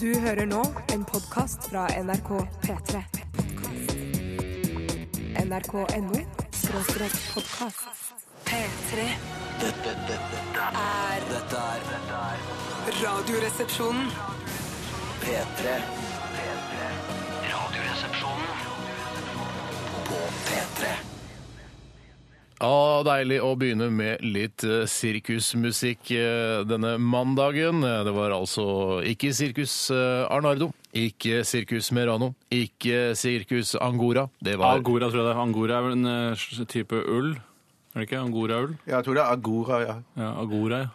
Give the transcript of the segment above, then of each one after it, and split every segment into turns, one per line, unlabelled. Du hører nå en podkast fra NRK P3. NRK.no skråstrek podkast. P3
Dette, dette, dette,
er
dette er
Radioresepsjonen.
P3. Radioresepsjonen på P3.
Å, deilig å begynne med litt eh, sirkusmusikk eh, denne mandagen. Eh, Det var altså ikke sirkus eh, Arnardo, ikke sirkus Merano, ikke sirkus Angora. Det var
Angora, tror jeg det er. Angora er vel en eh, s- type ull? Er det ikke? Angora-ull?
Ja, jeg tror det er Agora, ja.
Mm.
Ja, Agora, ja.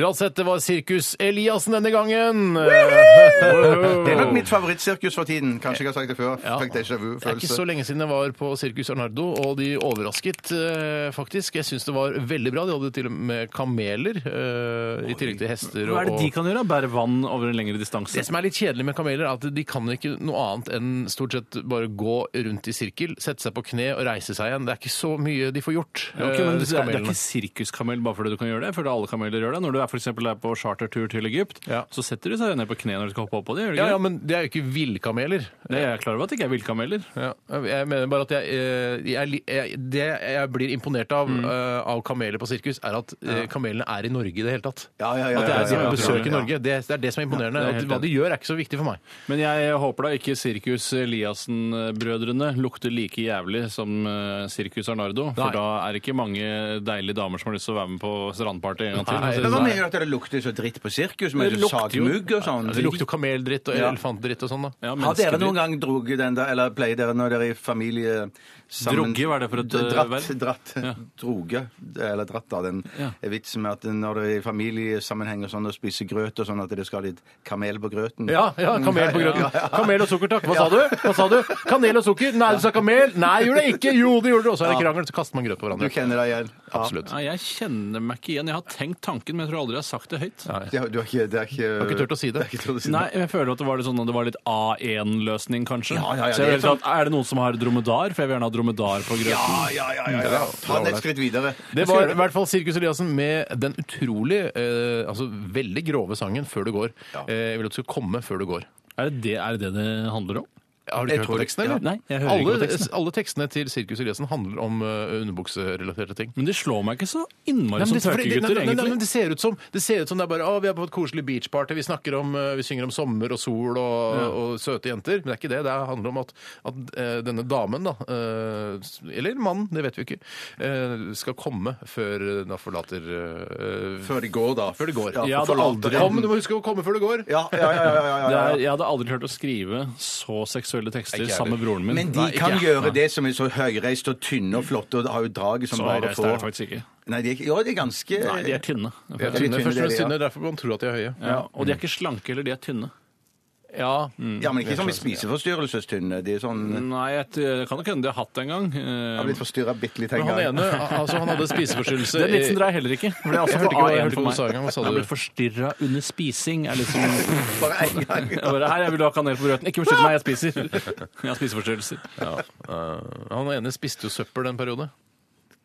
Uansett, det var sirkus Eliassen denne gangen! Eh,
Det er nok mitt favorittsirkus for tiden. Kanskje jeg har sagt det før.
Ja.
Fikk déjà
Det er ikke
vu-følelse.
så lenge siden jeg var på Sirkus Arnardo, og de overrasket eh, faktisk. Jeg syns det var veldig bra. De hadde til og med kameler, eh, i tillegg til hester
Hva er det
og
de kan gjøre? Bære vann over en lengre distanse?
Det som er litt kjedelig med kameler, er at de kan ikke noe annet enn stort sett bare gå rundt i sirkel, sette seg på kne og reise seg igjen. Det er ikke så mye de får gjort.
Ja, ok, men
eh,
det,
disse
er, det er
kamelene.
ikke sirkuskamel bare fordi du kan gjøre det. Jeg føler alle kameler gjør det. Når du er, for eksempel, er på chartertur til Egypt,
Ja.
så setter de seg ned på kne når de skal hoppe opp på det. Gjør de
ja,
ikke
ja, men det er jo ikke villkameler.
det? Jeg er klar over at det ikke er villkameler.
Ja, jeg mener bare at jeg, eh, jeg, li- jeg, det jeg blir imponert av
Mm.
eh, av kameler på sirkus, er at eh, kamelene er i Norge i det hele tatt.
Ja, ja, ja,
At det er sånn
ja,
de
ja, ja.
besøker Norge. Det, det er det som er imponerende.
Ja, det er
At
helt
hva de gjør, er ikke så viktig for meg.
Men jeg håper da ikke Sirkus Eliassen-brødrene lukter like jævlig som eh, Sirkus Arnardo. For
Nei.
da er det ikke mange deilige damer som har lyst til å være med på strandparty en gang til.
Nei,
Altså,
Men Hva
Nei.
mener du at det lukter så dritt på sirkus?
Men
Med
det
så
lukter jo-
sagmugg og sånn?
Det lukter jo kameldritt og elefantdritt og sånn, da.
ja,
Har dere
menneskedritt.
noen gang drugget den der, eller pleier dere når dere er i familie sammen
Drugget, hva er det for et,
D- Dratt,
eh, verb?
dratt, droge, eller dratt da, den
Ja.
vitsen med at når dere er i familiesammenheng og sånn og spiser grøt og sånn, at det skal litt kamel på grøten.
Ja, ja, kamel på grøten. Kamel og sukker, takk. Hva sa du? Hva sa du? Kanel og sukker? Nei, du sa kamel. Nei, gjorde det ikke. Jo, det gjorde du. Og så er det krangel, så kaster man grøt på
Du
hverandre.
kjenner deg igjen? Ja.
Absolutt.
Nei, jeg kjenner meg ikke igjen. Jeg har tenkt tanken, men jeg tror aldri jeg har sagt det høyt.
Nei.
Det har- Du har ikke, det er ikke,
har ikke turt å si det.
Du har ikke turt å si det.
Nei, jeg føler at det var litt, sånn, at det var litt A1-løsning, kanskje.
Ja, ja, ja,
så jeg
det
vet
er
at, er det noen som har dromedar? For jeg vil gjerne ha dromedar på grøten.
Ja, ja, ja, ja, ja. Ta det et skritt videre.
Det var i hvert fall Sirkus Eliassen med den utrolig, eh, altså veldig grove sangen 'Før du går'. Eh, jeg vil at du skal komme før du går.
Er, det det, er det det det handler om?
Har du ikke
Jeg
hørt på
tror-
teksten, eller?
ja. Nei, jeg hører
alle,
ikke på teksten.
Alle tekstene til Sirkus Eliassen handler om eh, underbukserelaterte ting.
Men de slår meg ikke så
Nei,
innmari
men
som
det, fordi- nei,
tørkegutter,
nei, nei, nei, men
egentlig.
det ser ut som det ser ut som det er bare å, vi er på et koselig beachparty, vi snakker om, eh, vi synger om sommer og sol og, og søte jenter. Men det er ikke det. Det handler om at, at eh, denne damen, da, eh, s- eller mannen, det vet vi ikke, eh, skal komme før eh, da forlater eh,
Før det går, da.
Før det går.
Jeg hadde
forlater
aldri-
den.
Kom, du må huske å komme før det går!
Ja, ja, ja, ja, ja,
Det
ja,
er,
ja.
jeg hadde aldri klart å skrive så seksuelle tekster
Ikke jeg
sammen med broren min.
Men de
Nei, ikke
kan
jeg.
gjøre det som er så høyreist og tynne og flotte, og har jo draget som
Så
bare
høyreist er det
får
faktisk ikke.
Nei, de er, ikke- jo, de er ganske
Nei, de er
De
tynne.
er
Ja, de
tynne,
tynne,
først og fremst
de, ja.
tynne, derfor man tror at de er høye.
Ja, og de er ikke slanke heller, de er tynne.
Ja,
Ja, men ikke sånn med spiseforstyrrelsestynne. De er sånn
Nei, jeg, t- det kan nok hende de har hatt det en gang.
Har
Eh,
blitt forstyrra bitte litt en
Men han
gang.
ene altså han hadde spiseforstyrrelse.
Den vitsen
i-
drar eh, jeg heller ikke. For det er
Jeg
også
hørte ikke hva- jeg
A1
hørte ikke
for
hva du
meg.
sa engang. Hva sa
Jeg
du?
ble forstyrra under spising. Er litt som
Bare en gang.
Jeg bare, Her, jeg vil ha kanel på grøten. Ikke beskytt meg, jeg spiser. Jeg har spiseforstyrrelser.
Eh, han ene spiste jo søppel den periode.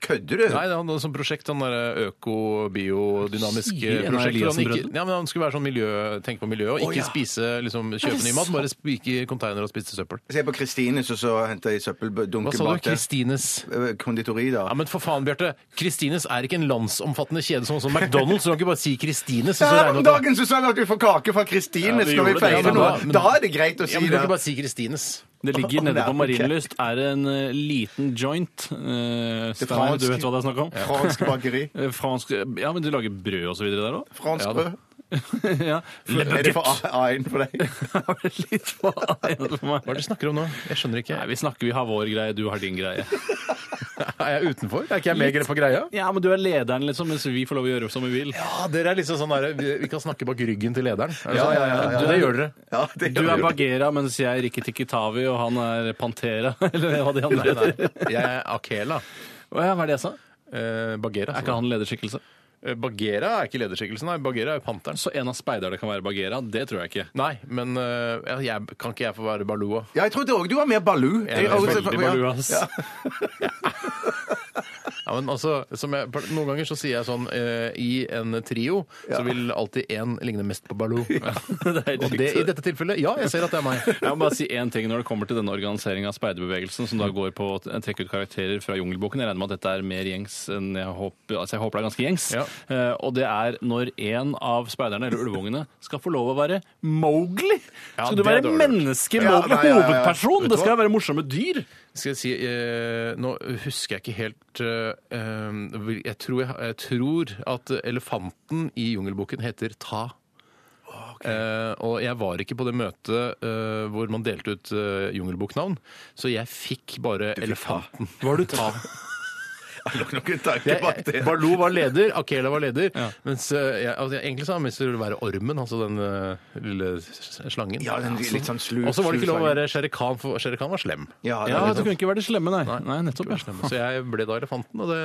Kødder du?
Nei, han hadde sånn prosjekt, han der øko-biodynamisk
Sier en
prosjekt. hvor
av
Han, ikke,
Eliassen-brødrene?
ja, men han skulle være sånn miljø, tenke på miljøet, og ikke
ja.
spise, liksom, kjøpe ny mat, bare spike i container og spise søppel.
Se på Kristine, så, så henter jeg søppeldunken
Hva sa du?
bak der.
Kristines?
Eh, Konditori, da.
Ja, men for faen, Bjarte. Kristines er ikke en landsomfattende kjede som, som McDonald's. Du kan ikke bare si Kristines. og så
Her
regne
om
ut-
dagen så sa vi at vi får kake fra Kristine,
Ja, vi
skal vi
gjorde det,
feire
men
noe?
da- men-
Da er det greit å
Ja,
si
men du
det.
kan ikke bare si Kristines.
Det ligger nede
Nei,
på
ok.
Marienlyst. Er det en eh, liten joint. eh, Steinar, du
fransk.
vet hva det er snakk om?
Fransk bakeri.
Eh, Fransk Ja, men de lager brød og så videre der òg?
Fransk
Ja, da.
brød.
ja.
Er det for A1 for deg?
Var det litt for annet for
Hva er
meg?
det du snakker om nå? Jeg skjønner ikke.
Nei, vi snakker, vi har vår greie, du har din greie.
Er jeg utenfor? Er ikke jeg med på greia?
Ja, men du er lederen, liksom, mens vi får lov å gjøre som vi vil.
Ja, dere er liksom sånn der, vi, vi kan snakke bak ryggen til lederen. Er det
Ja,
sånn?
ja, ja, ja, ja.
Det gjør dere.
Ja, det
Du
gjør
er
du.
Bagheera, mens jeg er Rikki Tikki Tavi, og han er Pantera, eller hva de andre heter.
Jeg er Akela.
Å ja, Hva er det jeg sa?
Eh, Bagheera.
Er ikke han lederskikkelse?
Eh, Bagheera er ikke lederskikkelsen, nei. Bagheera er jo panteren.
Så en av speiderne kan være Bagheera? Det tror jeg ikke.
Nei, men eh, ja, jeg, kan ikke jeg få være Baloo?
Ja, jeg trodde òg du var mer Baloo.
Jeg er
også-
Veldig Baloo, ass.
Ja, men altså, som jeg, noen ganger så sier jeg sånn eh, I en trio så vil alltid én ligne mest på Baloo.
det er helt
Og det
riktig.
i dette tilfellet Ja, jeg ser at det er meg.
Jeg må bare si én ting når det kommer til denne organiseringa av speiderbevegelsen, som da går på å trekke ut karakterer fra Jungelboken. Jeg regner med at dette er mer gjengs enn jeg håper Altså, jeg håper det er ganske gjengs.
Ja.
Eh, og det er når en av speiderne, eller ulvungene, skal få lov å være Mowgli!
Ja,
skal du
det er
være
dårlig.
menneske,
Ja,
Mowgli,
nei, ja, ja, ja.
hovedperson!
Vet du
Det skal
hva?
være morsomme dyr!
Skal jeg si eh, Nå husker jeg ikke helt eh, eh, vil- jeg, tror jeg, jeg tror at elefanten i Jungelboken heter Ta.
Ah,
Eh, og jeg var ikke på det møtet eh, hvor man delte ut eh, jungelboknavn, så jeg fikk bare elefanten. Var du Ta?
Nok noen tanker
Jeg,
bak det.
Baloo var leder, Akela var leder. Mens eh, jeg, altså, jeg, egentlig så har jeg mest lyst til å være ormen, altså den eh, lille s- slangen.
Ja, den litt sånn slu-
Og så var det ikke lov å
sluslangen.
være Shere Khan, for Shere Khan var slem.
Ja, det er
Ja,
litt
Du
sånn.
kunne ikke være de slemme, nei. Nei, nettopp. Ja.
Så jeg ble da elefanten, og det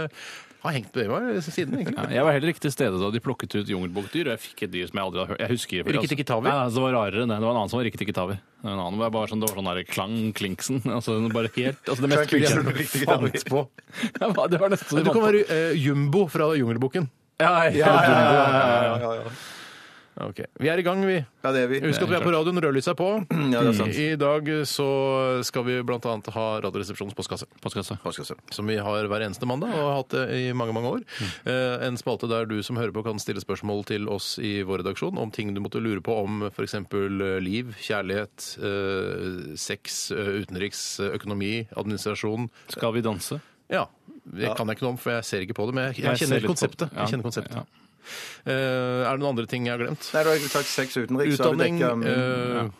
har hengt ved meg siden,
Ja,
egentlig.
jeg var heller ikke til stede da de plukket ut jungelbokdyr, og jeg fikk et dyr som jeg aldri har hørt. Jeg husker
Rikki Tikki Tavi?
Ja, altså, det var rarere enn det. Det var en annen som var Rikki Tikki Tavi. Det var en annen, det var bare sånn, det var sånn der klang, klinksen. Altså, den bare helt, altså det mest
Klang, klinksen,
kule jeg
Rikki Tikki Tavi.
fant på. Ja, hva- det var nesten så
Men
de
du kan
fant på.
være eh, Jumbo fra Jungelboken.
Ja, ja,
Ja,
ja.
ja, ja, ja, ja.
Ok. Vi er i gang, vi.
Ja, det er vi.
Husk at vi er på radioen, rødlyset er på.
Ja, det er sant.
I dag så skal vi blant annet ha Radioresepsjonens postkasse.
Postkasse.
Postkasse.
Som vi har hver eneste mandag, og har hatt det i mange mange år. Eh, en spalte der du som hører på kan stille spørsmål til oss i vår redaksjon om ting du måtte lure på om f.eks. liv, kjærlighet, eh, sex, eh, utenriks, eh, økonomi, administrasjon.
Skal vi danse?
Ja. Det kan jeg ikke noe om, for jeg ser ikke på det, men jeg, jeg,
ser
kjenner
litt på-
konseptet.
Ja.
Jeg kjenner konseptet.
Ja.
Eh, er det noen andre ting jeg har glemt?
Nei, du har ikke tatt sex utenriks. så har du
Utdanning,
dekket, um,
eh,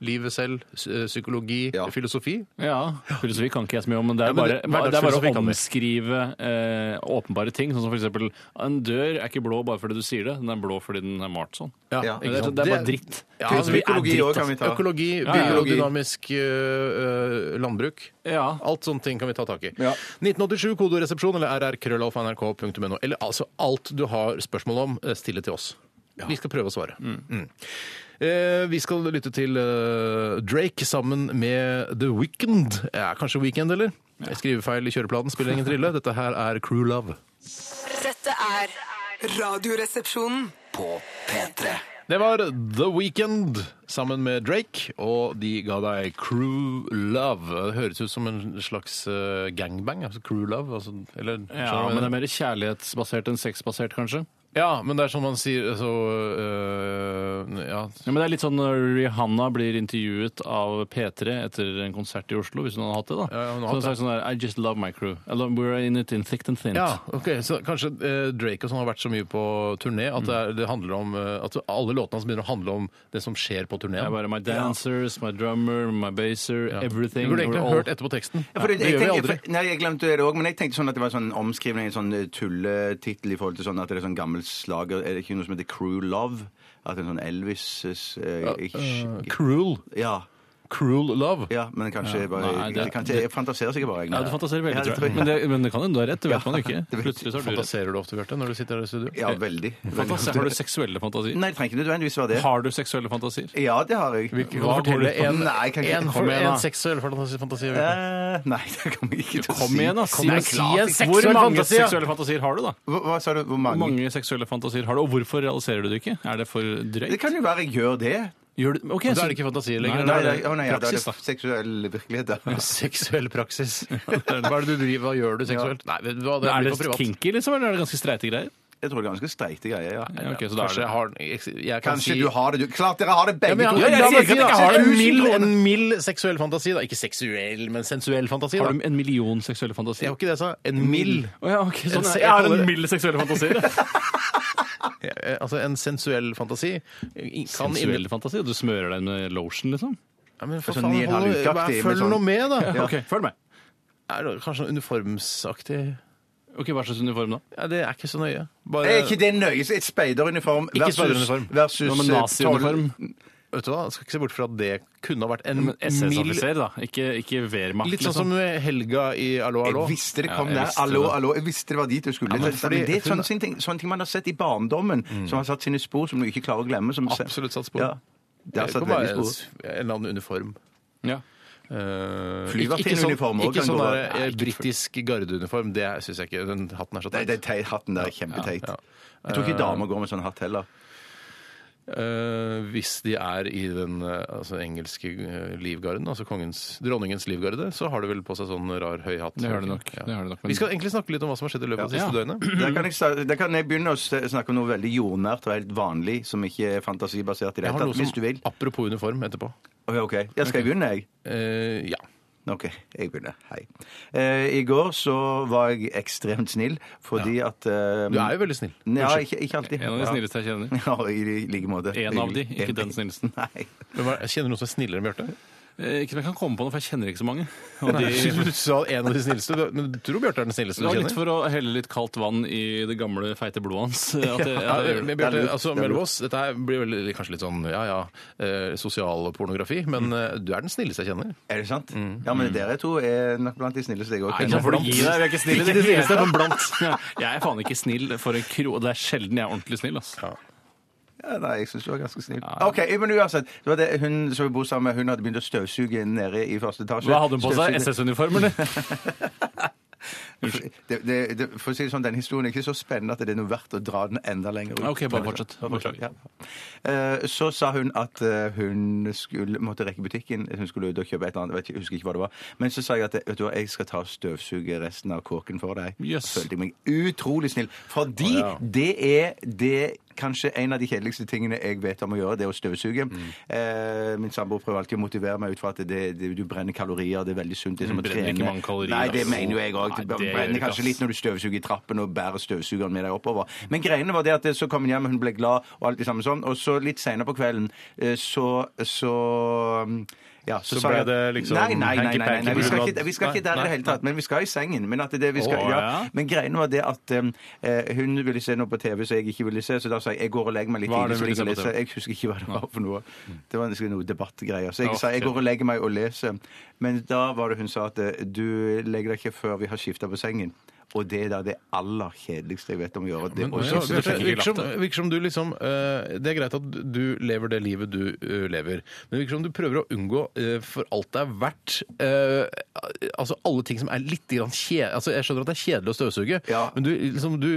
livet selv, s- eh, psykologi,
Ja.
filosofi.
Ja, filosofi kan ikke jeg så mye om, men det er
men
bare,
det- hverdagsfilosofi
det er bare å
kan vi.
omskrive eh, åpenbare ting. Sånn som for eksempel, en dør er ikke blå bare fordi du sier det, den er blå fordi den er malt sånn.
Ja.
ikke
Det er,
sant?
det er bare dritt.
Ja,
Kunst-
altså, vi er
økologi
dritt,
også kan vi ta.
Økologi,
Ja, ja.
biodynamisk eh, eh, landbruk.
Ja.
Alt sånne ting kan vi ta tak i.
Ja.
1987, kodoresepsjon eller rrkrøllalfa.nrk.no. Eller altså alt du har spørsmål om, eh, stille til oss. Vi skal prøve å svare. Mm. Eh, vi skal lytte til eh, Drake sammen med The Weekend. Ja, kanskje Weekend, eller? Jeg skriver feil i kjøreplanen, spiller ingen trille. Dette her er Crew Love.
Dette er Radioresepsjonen.
På P3.
Det var The Weekend sammen med Drake, og de ga deg Crew Love. Det høres ut som en slags eh, gangbang. altså Crew Love. Altså, eller,
Ja,
skjønner du hva jeg
men det
mener?
er mer kjærlighetsbasert enn sexbasert, kanskje.
ja, men det er som man sier altså, eh, ja.
Ja, men det er litt sånn når Rihanna blir intervjuet av P3 etter en konsert i Oslo, hvis hun hadde hatt det, da.
Ja, ja, hun
så
har
hun
hatt
sa sånn der I just love my crew. I love, we're in it in thick and thin.
ja, ok, Så kanskje eh, Drake og sånn har vært så mye på turné at det, er, det handler om eh, at alle låtene hans begynner å handle om det som skjer på
Det er
turneen.
bare my dancers, my drummer, my baser,
Du
everything.
burde egentlig
We're
ha
all-
hørt etterpå teksten.
Ja, for det,
det
jeg
gjør vi
tenker-
aldri.
for- Nei, jeg glemte det òg, men jeg tenkte sånn at det var en sånn omskrivning, en sånn eh, tulletittel i forhold til sånn at det er sånn gammel slager Er det ikke noe som heter Crew Love? At en sånn Elvis eh,
Eh,
ikke-
cruel.
Ja.
Cruel Love.
Ja, men kanskje jeg bare
Nei, det-
kanskje, Jeg fantaserer sikkert bare. jeg.
Ja, du fantaserer veldig,
Ja, det
tror jeg. Men det, men det kan hende du har rett, det vet man jo ikke. Plutselig så har du rett.
Fantaserer du ofte, Bjarte, når du sitter her i studio?
Ja, veldig.
Fantasi. Har du seksuelle fantasier?
Nei, det trenger ikke nødvendigvis være det.
Har du seksuelle fantasier?
Ja, det har jeg.
Hvilke,
Hva
hva
går
forteller
du på?
en,
Nei, kan ikke-
en,
Kom igjen,
en
da.
seksuell fantasi? fantasi Bjørte?
Eh, Nei, det kommer jeg ikke til å si.
Kom igjen, da! Si,
Kom igjen,
si
klart.
en seksuell
Hvor mange
fantasi, ja.
seksuelle
fantasier har du, da?
Hva, hva sa du? Hvor
Hvor
mange?
mange seksuelle fantasier har du, og hvorfor realiserer du det ikke? Er det for drøyt?
Det kan jo være jeg gjør det.
Gjør du, ok,
Da
så-
er det ikke fantasier
Nei,
lenger.
Nei,
da
nei,
er det
å nei, ja, da er
praksis,
det seksuell virkelighet, da.
da. Seksuell praksis. Hva er det du driver Hva gjør du seksuelt? Nei, vet du hva, det
er
blir
det
for privat.
kinky, liksom, eller er det ganske streite greier?
Jeg tror det er ganske streite greier, ja.
Ja, ok, så da er
Kanskje
det
jeg har jeg kan
Kanskje
si,
du har det. Du, klart dere har det
ja,
begge
men jeg,
to.
jeg,
Ja, jeg sier
sier
ikke at
ikke
jeg har
har
en
en
mild-
mild, seksuell fantasi, da. Ikke seksuell, men sensuell fantasi.
Har
Da.
du en million seksuelle fantasier?
Jeg har ikke det jeg sa. En mild.
Å ja, ok, sånn,
Jeg- jeg
ja. jeg har
kaller
en
det-
mild seksuell fantasi. da.
eh, Altså en sensuell fantasi i- kan
Sensuell fantasi? Du smører deg med lotion, liksom?
Ja, men for
Sånn
faen,
Neil
hold-
Haluk-aktig,
Følg
med
nå
sånn-
med, da.
Ok, Følg med.
Er det kanskje noe uniformsaktig
Ok, Hva slags uniform da?
Ja, Det er ikke så nøye. Bare,
Er ikke det nøye? Så Et speideruniform versus,
speideruniform.
versus
Hva med
eh,
naziuniform?
Vet du hva, jeg skal ikke se bort fra at det kunne ha vært en
Men
mild
SS-offiser, da. Ikke, ikke Wehrmacht. liksom.
Litt sånn som Helga i Allo
Jeg
Allo.
visste det
Ja,
kom
jeg
der.
visste
Allo,
det.
allo. Jeg visste det var dit du skulle.
men
men,
fordi
det er
hun- Mm.
sånne ting, sånne ting man har sett i barndommen, som har satt sine spor, som du ikke klarer å glemme. Som
Absolutt satt spor.
Ja. Det har
Det
satt
kan være
veldig
en
spor.
s- en eller annen uniform.
Ja.
Eh,
Flyvert
ikke-
i en
ikke sånn-
uniform også
Ikke
kan
sånn
gå-
der,
Nei,
eh,
ikke
britisk gardeuniform. Det syns jeg ikke. Den hatten er så
Nei,
teit.
det er teit. Hatten der er kjempeteit. Jeg tror ikke damer går med sånn hatt heller.
Eh, hvis de er i den eh, altså, engelske eh, livgarden, altså kongens, dronningens livgarde, så har de vel på seg sånn rar høy hatt.
Det har de nok, det har de nok, men-
Vi skal egentlig snakke litt om hva som har skjedd i løpet av det
Ja.
siste
Ja.
døgnet.
Der kan, jeg, sta- der kan jeg begynne å s- snakke om noe veldig jordnært og helt vanlig, som ikke er fantasibasert i
Jeg
det hele
har
tatt.
noe
Hvis du vil.
som Apropos uniform etterpå.
Ok, ok. Ja, skal jeg begynne, jeg?
Eh, ja.
Ok, jeg begynner. Hei. Eh, I går så var jeg ekstremt snill, fordi at eh,
Du er jo veldig snill.
Nei,
Unnskyld.
ikke, ikke alltid.
En av de
Ja.
snilleste jeg kjenner.
Ja, i like måte.
En av de, ikke den snilleste.
Nei.
Men hva- Kjenner du noen som er snillere enn Bjarte?
Eh, Ikke som jeg kan komme på noe, for jeg kjenner ikke så mange. Og de,
Du sa en av de snilleste, du- men du tror Bjarte er den snilleste
det
du
var litt
kjenner?
for å helle litt kaldt vann i det gamle, feite blodet hans. eh, At det,
Ja,
at det,
men
Det er
Bjarte,
lurt,
altså,
det er
mellom oss, dette her blir vel kanskje litt sånn ja ja, eh, sosial pornografi, men eh, du er den snilleste jeg kjenner.
Er det sant? Ja, men dere to er nok blant de snilleste jeg òg
Mm. Nei, nå får du gi deg, vi er ikke snille. i
Ikke det
hele
snilleste,
tatt.
men blant.
Ja, Jeg er faen ikke snill for en kro. Det er sjelden jeg er ordentlig snill. ass.
Ja, nei, jeg syns du var ganske snill. OK, men uansett. Det var det hun som vi bor sammen med, hun hadde begynt å støvsuge nede i første etasje.
Hva hadde hun på seg?
Støvsuge-
SS-uniform, eller?
Det, det, det, for å si det sånn, Den historien er ikke så spennende at det er noe verdt å dra den enda lenger ut.
Ok, bare fortsett.
Bare fortsett,
Beklager.
ja. Eh, Så sa hun at eh, hun skulle, måtte rekke butikken. Hun skulle ut og kjøpe et eller annet. Jeg vet ikke- jeg husker ikke hva det var. Men så sa jeg at vet du hva, jeg skal ta og støvsuge resten av kåken for deg.
Yes.
Følte jeg meg utrolig snill. Fordi det er det Kanskje en av de kjedeligste tingene jeg vet om å gjøre, det er å støvsuge.
Mm.
Eh, min samboer prøver alltid å motivere meg ut fra at det, det, du brenner kalorier, det er veldig sunt. Det er som å
Brenner
trene.
ikke mange kalorier,
altså. Nei, det
ass.
mener jo jeg òg.
Nei,
Det
det gjør du
brenner
ikke,
kanskje
ass.
litt når du støvsuger i trappen og bærer støvsugeren med deg oppover. Men greiene var det at eh, så kom hun hjem, og hun ble glad, og alt det samme sånn. Og så litt seinere på kvelden eh, så, så um, ja,
Så
sa
ble
jeg-
det liksom
Nei, nei, nei. nei, nei, nei,
hanky-panky
Vi skal
blod.
ikke, vi skal ikke der i det hele tatt, men vi skal i sengen. Men, at det vi skal,
Å,
ja.
ja.
men greiene var det at um, eh, hun ville se noe på TV som jeg ikke ville se, så da sa jeg jeg går og legger meg litt
Hva er
tidlig.
det
så
hun ville
ligger og
se på Mm.
leser. Jeg husker ikke hva det var for noe. Det var noe debattgreier. Så jeg
Ja,
sa jeg
ok.
går og legger meg og leser. Men da var det hun sa at eh, du legger deg ikke før vi har skifta på sengen. Og det er da det aller kjedeligste jeg vet om å gjøre. Det,
Men,
og
ja,
så-
så du
Bjarte,
trenger ikke
virker, som,
lappe.
virker som du liksom eh, Det er greit at du lever det livet du eh, lever, men det virker som du prøver å unngå eh, for alt det er verdt eh, Altså alle ting som er litt grann kjedelig altså, Jeg skjønner at det er kjedelig å støvsuge,
Ja.
men du, liksom, du,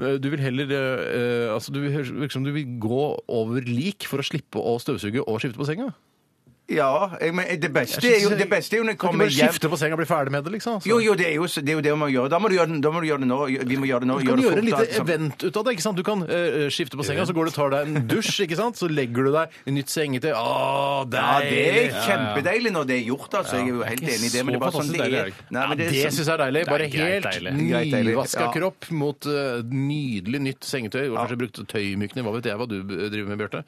eh, du vil heller eh, altså, Du vil- virker som du vil gå over lik for å slippe å støvsuge og skifte på senga.
ja, jeg, men eh, det beste
Jeg
er
synes-
jo, det beste er jo når jeg
Kan ikke
kommer
bare
hjem
skifte på senga og bli ferdig med det, liksom. altså.
jo, jo, det er jo, det er jo det man gjør. Da må du gjøre, den- da må du gjøre det nå. Vi må gjøre det nå.
Du kan
det
gjøre eh,
fort, liksom.
et lite
alt sammen.
event ut av det. ikke sant? Du kan eh, skifte på senga, så går du og tar deg en dusj, ikke sant? så legger du deg i nytt sengetøy. Å,
Ja, det
deilig!
er kjempedeilig når det er gjort, altså. Jeg er jo helt
ikke
enig i det. Men
så
det er bare sånn
fantastisk
det
deilig,
er. sånn-
Erik.
Nei, men
Ja, det syns jeg er deilig.
Det er
Bare
greit
helt
deilig.
Greit deilig,
nyvaska
ja.
kropp mot eh, nydelig nytt sengetøy. Og kanskje brukt tøymykne, hva vet jeg hva du eh, driver med, Bjarte.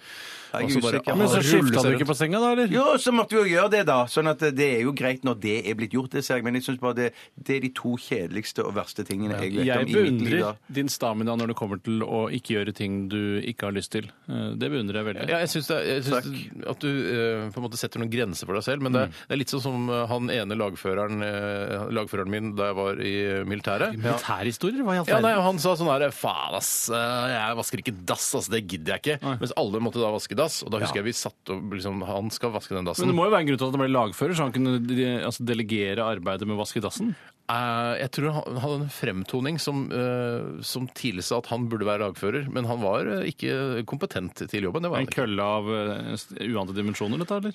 Jeg er
Og så bare-
usikker.
ah,
Men så
rulle
skiftet
seg
du ikke
rundt.
på senga, da, eller?
Jo, så måtte vi jo gjøre det, da. Sånn at det er jo greit når det er blitt gjort, det ser jeg. Men jeg synes bare det, det er de to kjedeligste og verste tingene jeg vet
Jeg
om i mitt liv. da.
beundrer din stamina når det kommer til å ikke gjøre ting du ikke har lyst til. Eh, Det beundrer jeg veldig.
Ja, jeg syns, det, jeg syns at du eh, på en måte setter noen grenser for deg selv, men det, er-
Mm.
det er litt sånn som eh, han ene lagføreren, eh, lagføreren min da jeg var i eh, militæret.
Militærhistorier? Hva i all
Ja, nei,
verden?
Han sa sånn her Faen, ass. eh, Jeg vasker ikke dass, ass. Det gidder jeg ikke. Mens alle måtte da vaske dass. Og da husker jeg vi satt og liksom Han skal vaske den dassen.
Men det må jo være en grunn til at han ble lagfører, så han kunne de- altså, delegere arbeidet med å vaske dassen?
Eh, jeg tror han hadde en fremtoning som, eh, som tilsa at han burde være lagfører. Men han var eh, ikke kompetent til jobben. Det var han
En
ikke.
kølle av eh, s- uante dimensjoner, dette, eller?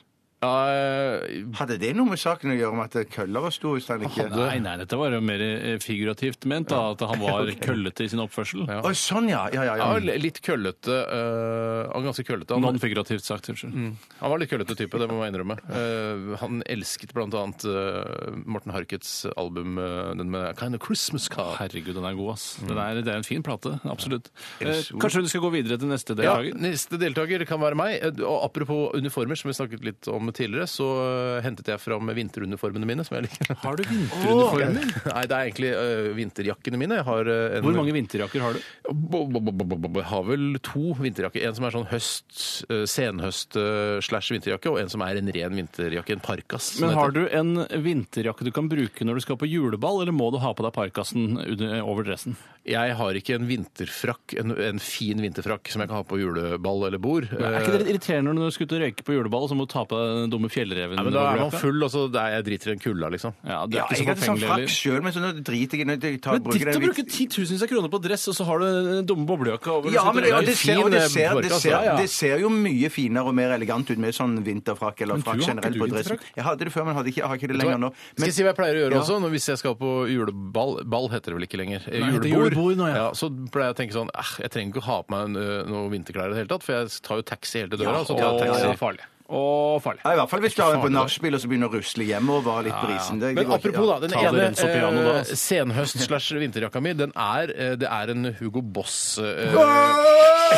Eh,
Hadde det noe med saken å gjøre med at kølla var stor? Hvis den ikke...
Nei, nei, dette var jo mer eh, figurativt ment, da, at han var køllete i sin oppførsel.
Å, sånn, ja. Ja,
ja,
ja, ja.
Mm.
litt køllete. eh, han var ganske køllete. Han,
Non-figurativt sagt, unnskyld.
han var litt køllete type, det må jeg innrømme. Eh, han elsket blant annet eh, Morten Harkets album eh, den med Kind of Christmas Car.
Herregud, den er god, ass. Den er, det er en fin plate, absolutt. Eh,
Elsker.
kanskje du skal gå videre til neste
Ja,
deltaker?
neste deltaker kan være meg. Eh, Og apropos uniformer, som vi snakket litt om tidligere, så eh, hentet jeg fram vinteruniformene mine, som jeg liker.
Har du vinteruniformer?
Nei, det er egentlig eh, vinterjakkene mine. Jeg har, eh, en,
Hvor mange vinterjakker har du?
Bo- bo- bo- bo- bo- bo- bo- har vel to vinterjakker. En som er sånn høst, eh, senhøst eh, slash vinterjakke, og en som er en ren vinterjakke, en parkas. som
Men
det
har
heter.
du en vinterjakke du kan bruke når du skal på juleball, eller må du ha på deg parkasen under- over dressen?
Jeg har ikke en vinterfrakk, en, en fin vinterfrakk som jeg kan ha på juleball eller bord.
Eh. Er ikke det litt irriterende når du skal ut og røyke på juleball, og så må du ta på deg den dumme fjellreven.
Eh, Nei, men da er man
overløpet.
full, og så er jeg driter i den kulda, liksom.
Ja, det er
Ja,
ikke
jeg
så
hadde sånn
forfengelig
frakk
heller.
sjøl, men så nå driter jeg i nå tar-
Men ditt
bruker
å
den
bruke
litt-
titusenvis av kroner på dress, og så har du den dumme boblejakka over.
Ja,
og så sitter
men det,
du der.
og det, ser, og det, ser, det,
borkas,
ser,
eh, altså. ja, ja.
det ser jo mye finere og mer elegant ut med sånn vinterfrakk eller
Men du
frakk
har ikke du
generelt på dressen.
vinterfrakk?
Jeg hadde det før, men hadde ikke, jeg har ikke det lenger nå.
skal
Men,
jeg si hva jeg pleier å gjøre
Ja.
også? Når, hvis jeg skal på juleball Ball heter det vel ikke lenger. eh,
Nei, det heter julebord nå, ja.
Så pleier jeg å tenke sånn eh, Jeg trenger ikke å ha på meg en, eh, noen vinterklær i det hele tatt, for jeg tar jo taxi hele til døra.
Ja,
og så
ja,
tar jeg
taxi.
taxi. farlig. Og farlig.
ja, I hvert fall hvis du har en på nachspiel og så begynner å rusle hjemover og være litt brisen. Det- det
Men
går ikke,
apropos da,
ja.
den
Ta det rens opp i
ene
piano da,
eh,
altså.
senhøst slash vinterjakka mi, den er, eh, det er en Hugo Boss eh,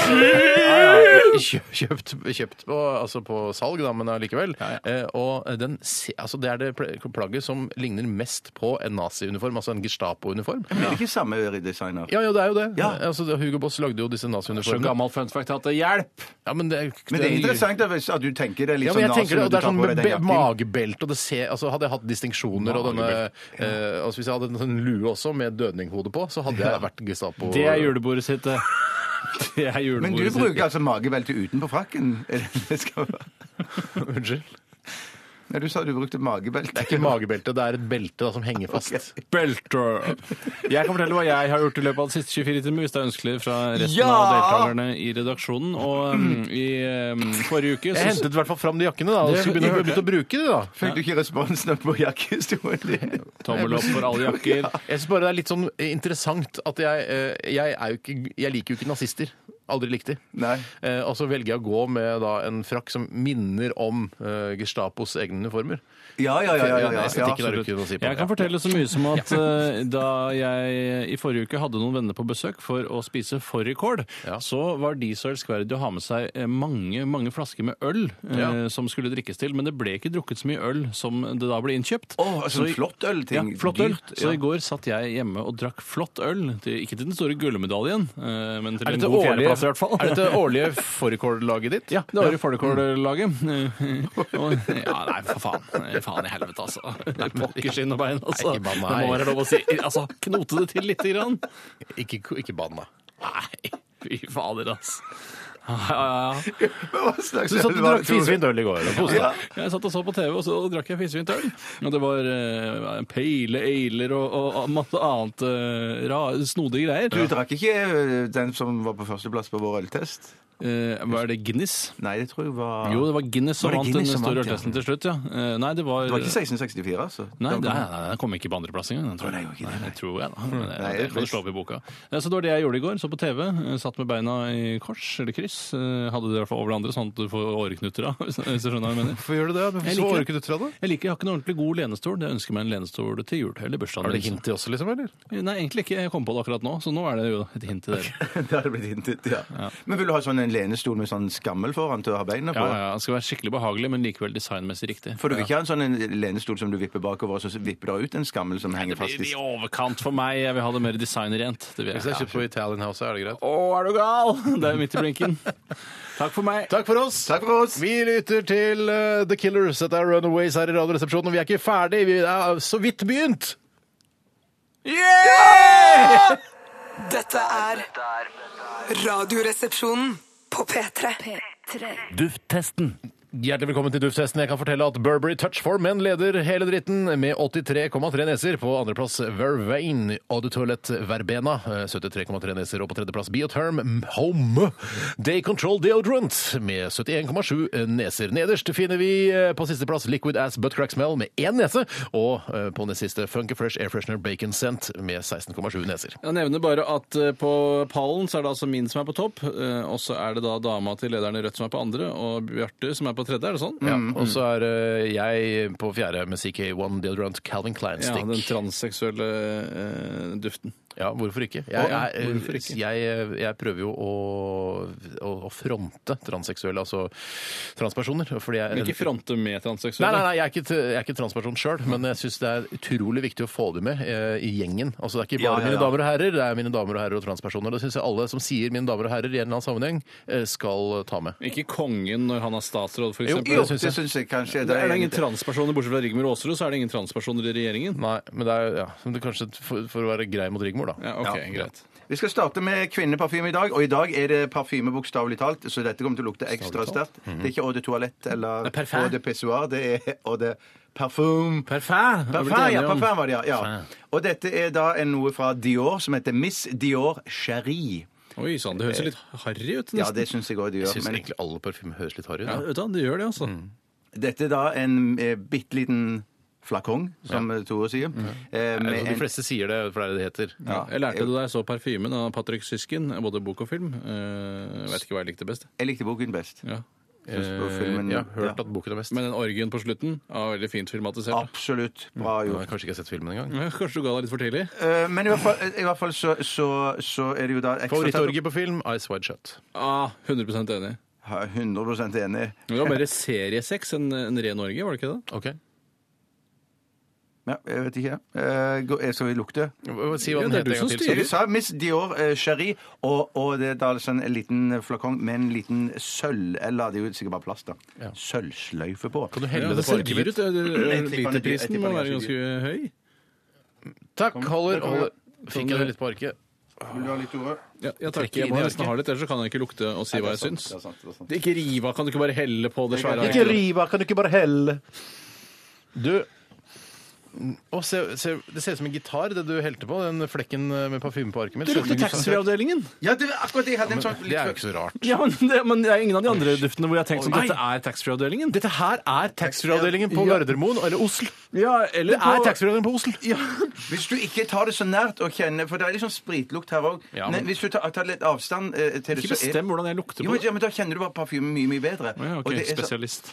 kjø- kjøpt, kjøpt på, altså på salg, da, men allikevel. Eh, og den, se- altså det er det pl- plagget som ligner mest på en naziuniform, altså en Gestapo-uniform.
Men Er det ikke samme redesigner?
Ja, ja, det er jo det.
Ja.
Altså, det- Hugo Boss lagde jo disse
Så
naziuniformene.
gammel fun fact at det hjelp!
Ja, men det, er-
Men det er interessant at, hvis- at du tenker det er litt
ja, men jeg
sånn nazi
tenker det,
når
og
du
det er
tar
sånn
på deg
med
den
be-
jakken.
magebelte og det ser, altså Hadde jeg hatt distinksjoner og denne eh, altså Hvis jeg hadde en sånn lue også med dødninghode på, så hadde jeg vært Gestapo.
Det er julebordet sitt, det. Det er
Men du
julebordet
bruker altså magebelte utenpå frakken? Er det det skal være?
Unnskyld.
Nei, du sa du brukte magebelte.
Det er ikke magebelte, det er et belte da, som henger fast.
Belter. Jeg kan fortelle hva jeg har gjort i løpet av de siste 24 timer, hvis det er ønskelig fra resten
Ja!
av deltakerne i redaksjonen. Og um, i um, forrige uke
Jeg
så
hentet i hvert fall fram de jakkene, da, og
Det-
så begynte
jeg
jeg begynte å bruke de, da.
Fikk du ikke responsen på jakkehistorien din?
Tommel opp for alle jakker.
Jeg syns bare det er litt sånn interessant at jeg, eh, jeg, er jo ikke, jeg liker jo ikke nazister. Aldri likt de.
Nei.
Eh, og så velger jeg å gå med da, en frakk som minner om eh, Gestapos egne uniformer.
Ja, ja, ja. ja, ja, ja.
Estetikken er det jo ikke noe å si på.
Jeg kan fortelle så mye som at eh, da jeg i forrige uke hadde noen venner på besøk for å spise fårikål,
Ja.
så var de så elskverdige å ha med seg eh, mange mange flasker med øl eh,
Ja.
som skulle drikkes til. Men det ble ikke drukket så mye øl som det da ble innkjøpt.
Å, altså,
Så i-
flott ølting.
Ja, flott øl.
Dyrt,
Så
ja.
i går satt jeg hjemme og drakk flott øl. til- Ikke til den store gullmedaljen, eh, men til
Er
en
dette
god
årlige,
fjerdeplass i hvert fall.
er dette årlige fårikål-laget ditt?
Ja, det var i Folkål-laget. Ja, nei, for faen. Faen i helvete, altså. Det er pokker skinn og bein, altså.
Nei,
Det
banna, nei.
må være lov å si. Altså, knote det til lite grann.
Mm. Ikke, ikke banna.
Nei, fy fader, altså. Ja, ja, ja.
Hva slags
Så du satt og
øl var
drakk
det, Tore?
fisefint øl i går og koste deg.
Jeg satt og så på TV, og så drakk jeg fisefint øl. Og det var eh, pale ailer og, og masse annet eh, ra, snodige greier.
Du drakk ikke ø, den som var på førsteplass på vår øltest?
Eh, Hva er det, Guinness?
Nei, det tror jeg var
Jo, det var Guinness som
Var det
vant den
Guinness som
store
vant, ja?
øltesten til slutt, ja. Eh, Nei, det var
Det var ikke 1664, altså?
Nei,
Det
nei,
var-
nei, nei, den kom ikke på andreplass engang. den tror
Nei,
jeg.
det gjorde
Nei,
ikke det, Hm.
det tror jeg, da. Men det-
Nei,
Det kan du slå opp i boka. Ja, Så det var det jeg gjorde i går. Så på TV. eh, Satt med beina i kors, eller kryss. eh, Hadde det i hvert fall over det andre, sånn at du får åreknuter av, hvis hvis du skjønner hva jeg mener.
Hvorfor gjør du det? Du så
Jeg liker det.
orket du tra det.
Jeg liker, jeg har ikke noen ordentlig god lenestol. Jeg ønsker meg en lenestol til jul eller
Har
bursdagen.
du
min,
hint til også, liksom? eller?
så- Nei, egentlig ikke. Jeg kom på det akkurat nå, så nå er det jo et hint til dere.
Det hadde blitt hintet, ja. Men vil du ha sånn en lenestol med sånn skammel foran til å ha beina på?
Ja, ja, ja. Det skal være skikkelig behagelig, men likevel designmessig riktig.
For du vil ikke ha en sånn en lenestol som du vipper bakover, og så vipper det ut en skammel som henger
Det
fast
blir
i
i overkant for meg. Jeg vil ha det mer designrent. Det vil
Hvis det
jeg.
er kjøpt på Italian House, er det greit.
Å, er du gal! Det er midt i blinken. Takk for meg.
Takk for oss!
Takk for oss!
Vi lytter til eh, The Killers. Dette er Runaways her i Radioresepsjonen. Og vi er ikke ferdig, vi er så vidt begynt!
Dette er Radioresepsjonen på P3.
Dufttesten.
Hjertelig velkommen til Duftfesten. Jeg kan fortelle at Burberry Touch for Men leder hele dritten med 83,3 neser. På andreplass Vervain Eau de Toilette Verbena. eh, 73,3 neser. Og på tredjeplass Bioterm Home Day Control Deodorant med 71,7 neser. Nederst finner vi eh, på sisteplass Liquid Ass Butt Crack Smell med én nese. Og eh, på nest siste Funky Fresh Air Freshener Bacon Scent med 16,7 neser.
Jeg nevner bare at eh, på pallen så er det altså min som er på topp, eh, og så er det da dama til lederen i Rødt som er på andre, og Bjarte som er på tredje, er det sånn?
Ja, og så er eh, jeg på fjerde med CK1 Deodorant Calvin Klein
Ja,
Stick.
den transseksuelle eh, duften.
Ja, hvorfor ikke? Jeg,
Ja,
jeg,
hvorfor ikke?
Jeg, jeg prøver jo å, å, å fronte transseksuelle, altså transpersoner. Fordi jeg,
Men ikke fronte med
Nei,
transseksuelle.
nei, nei, jeg er ikke, jeg er ikke transperson sjøl, men jeg syns det er utrolig viktig å få det med eh, i gjengen. Altså, det er ikke bare
Ja, ja,
mine
ja.
damer og herrer, det er mine damer og herrer og transpersoner. Det syns jeg alle som sier 'mine damer og herrer' i en eller annen sammenheng, eh, skal ta med.
Ikke kongen når han er statsråd, for eksempel.
Jo,
Det synes
det
jeg.
syns jeg kanskje.
Det er det ingen
egentlig-
transpersoner, bortsett fra Rigmor Aasrud, så er det ingen transpersoner i regjeringen.
Nei, men det er, ja, men det er kanskje for, for å være grei mot Rigmor, da.
Ja, ok,
Ja.
greit.
Vi skal starte med kvinneparfyme i dag, og i dag er det parfyme bokstavelig talt, så dette kommer til å lukte ekstra sterkt. Det er ikke eau de toalett eller
Det er parfum.
eau de pissoir, det er eau de parfum.
Parfum! har vi blitt
Parfum, ja,
enige om.
parfum var det, ja. ja.
Parfum.
Og dette er da en noe fra Dior som heter Miss Dior Cherie.
Oi sann, det høres jo litt harry ut.
Ja,
nesten.
det syns jeg òg det
Jeg
gjør.
syns
Men
egentlig alle parfymer høres litt harry ut.
Ja,
da.
vet du hva, det gjør det, altså.
dette er da en eh, bitte liten flakong, som Tore sier. eh,
Det er jo
Med
sånn De
en
fleste sier det, for det er det det heter.
Ja, jeg lærte det da jeg så parfymen av Patrick Syskin, både bok og film. Eh, Jeg vet ikke hva jeg likte best.
Jeg likte boken best.
Ja.
Synes på filmen-
Jeg har hørt
ja.
at boken er best.
Men den orgien på slutten var veldig fint filmatisert.
Absolutt bra
Jeg
gjort.
har kanskje ikke sett filmen engang.
Ja, Kanskje du ga deg litt for tidlig?
Eh, Men i hvert fall, i hvert fall så, så, så er det jo da ekstra
Favorittorgie på film Ice Wide Shut.
Ah, 100 enig.
Ja, 100 enig.
Men Det var mer seriesex enn en ren orgie, var det ikke det?
Ok.
Ja, jeg vet ikke. Eh, gå- jeg skal vi lukte?
Si hva
Ja,
den
det er
heter
du
en
som
gang til.
styrer.
Jeg sa Miss Dior eh, Cherie, og, og det er da altså en liten flakong med en liten sølv Eller det er jo sikkert bare plast, da. Sølvsløyfe på.
Kan du
Ja,
helle
det
det på
ser dyr
arkivet?
ut. Eh,
tipper han er dyr. Jeg
Literprisen
tipper
må
han er
være
ganske
ganske høy.
Takk, holder,
Der kommer
holder. Fikk jeg det litt på arket?
Vil du ha litt ordet?
Ja, jeg, tar
trekker
ikke, jeg
inn
må
i
nesten
arket.
ha litt, ellers så kan jeg ikke lukte og si hva jeg syns.
Det er sant, det er sant.
Det er ikke riva, kan du ikke bare helle på det svære
Ikke
arket?
riv av, kan du ikke bare helle? Du Å, se, se, Det ser ut som en gitar, det du helte på. Den flekken med parfyme på arket mitt.
Det lukter taxfree-avdelingen!
Ja, det var akkurat det! Jeg hadde en sånn
Det er jo ikke så rart.
Ja, men det, men det er ingen av de andre duftene hvor jeg har tenkt som dette er taxfree-avdelingen.
Dette her er taxfree-avdelingen på Gardermoen, eller Osl.
Ja, eller
Det er taxfree-avdelingen på Osl.
Hvis du ikke tar det så nært og kjenner For det er litt sånn spritlukt her òg.
Ja, men-
men Hvis du tar, tar litt avstand eh, til det,
Ikke bestem hvordan jeg lukter
jo,
på
men,
det.
ja, men Da kjenner du bare parfymen mye, mye bedre.
Ja,
Og
ok,
det er så-
spesialist.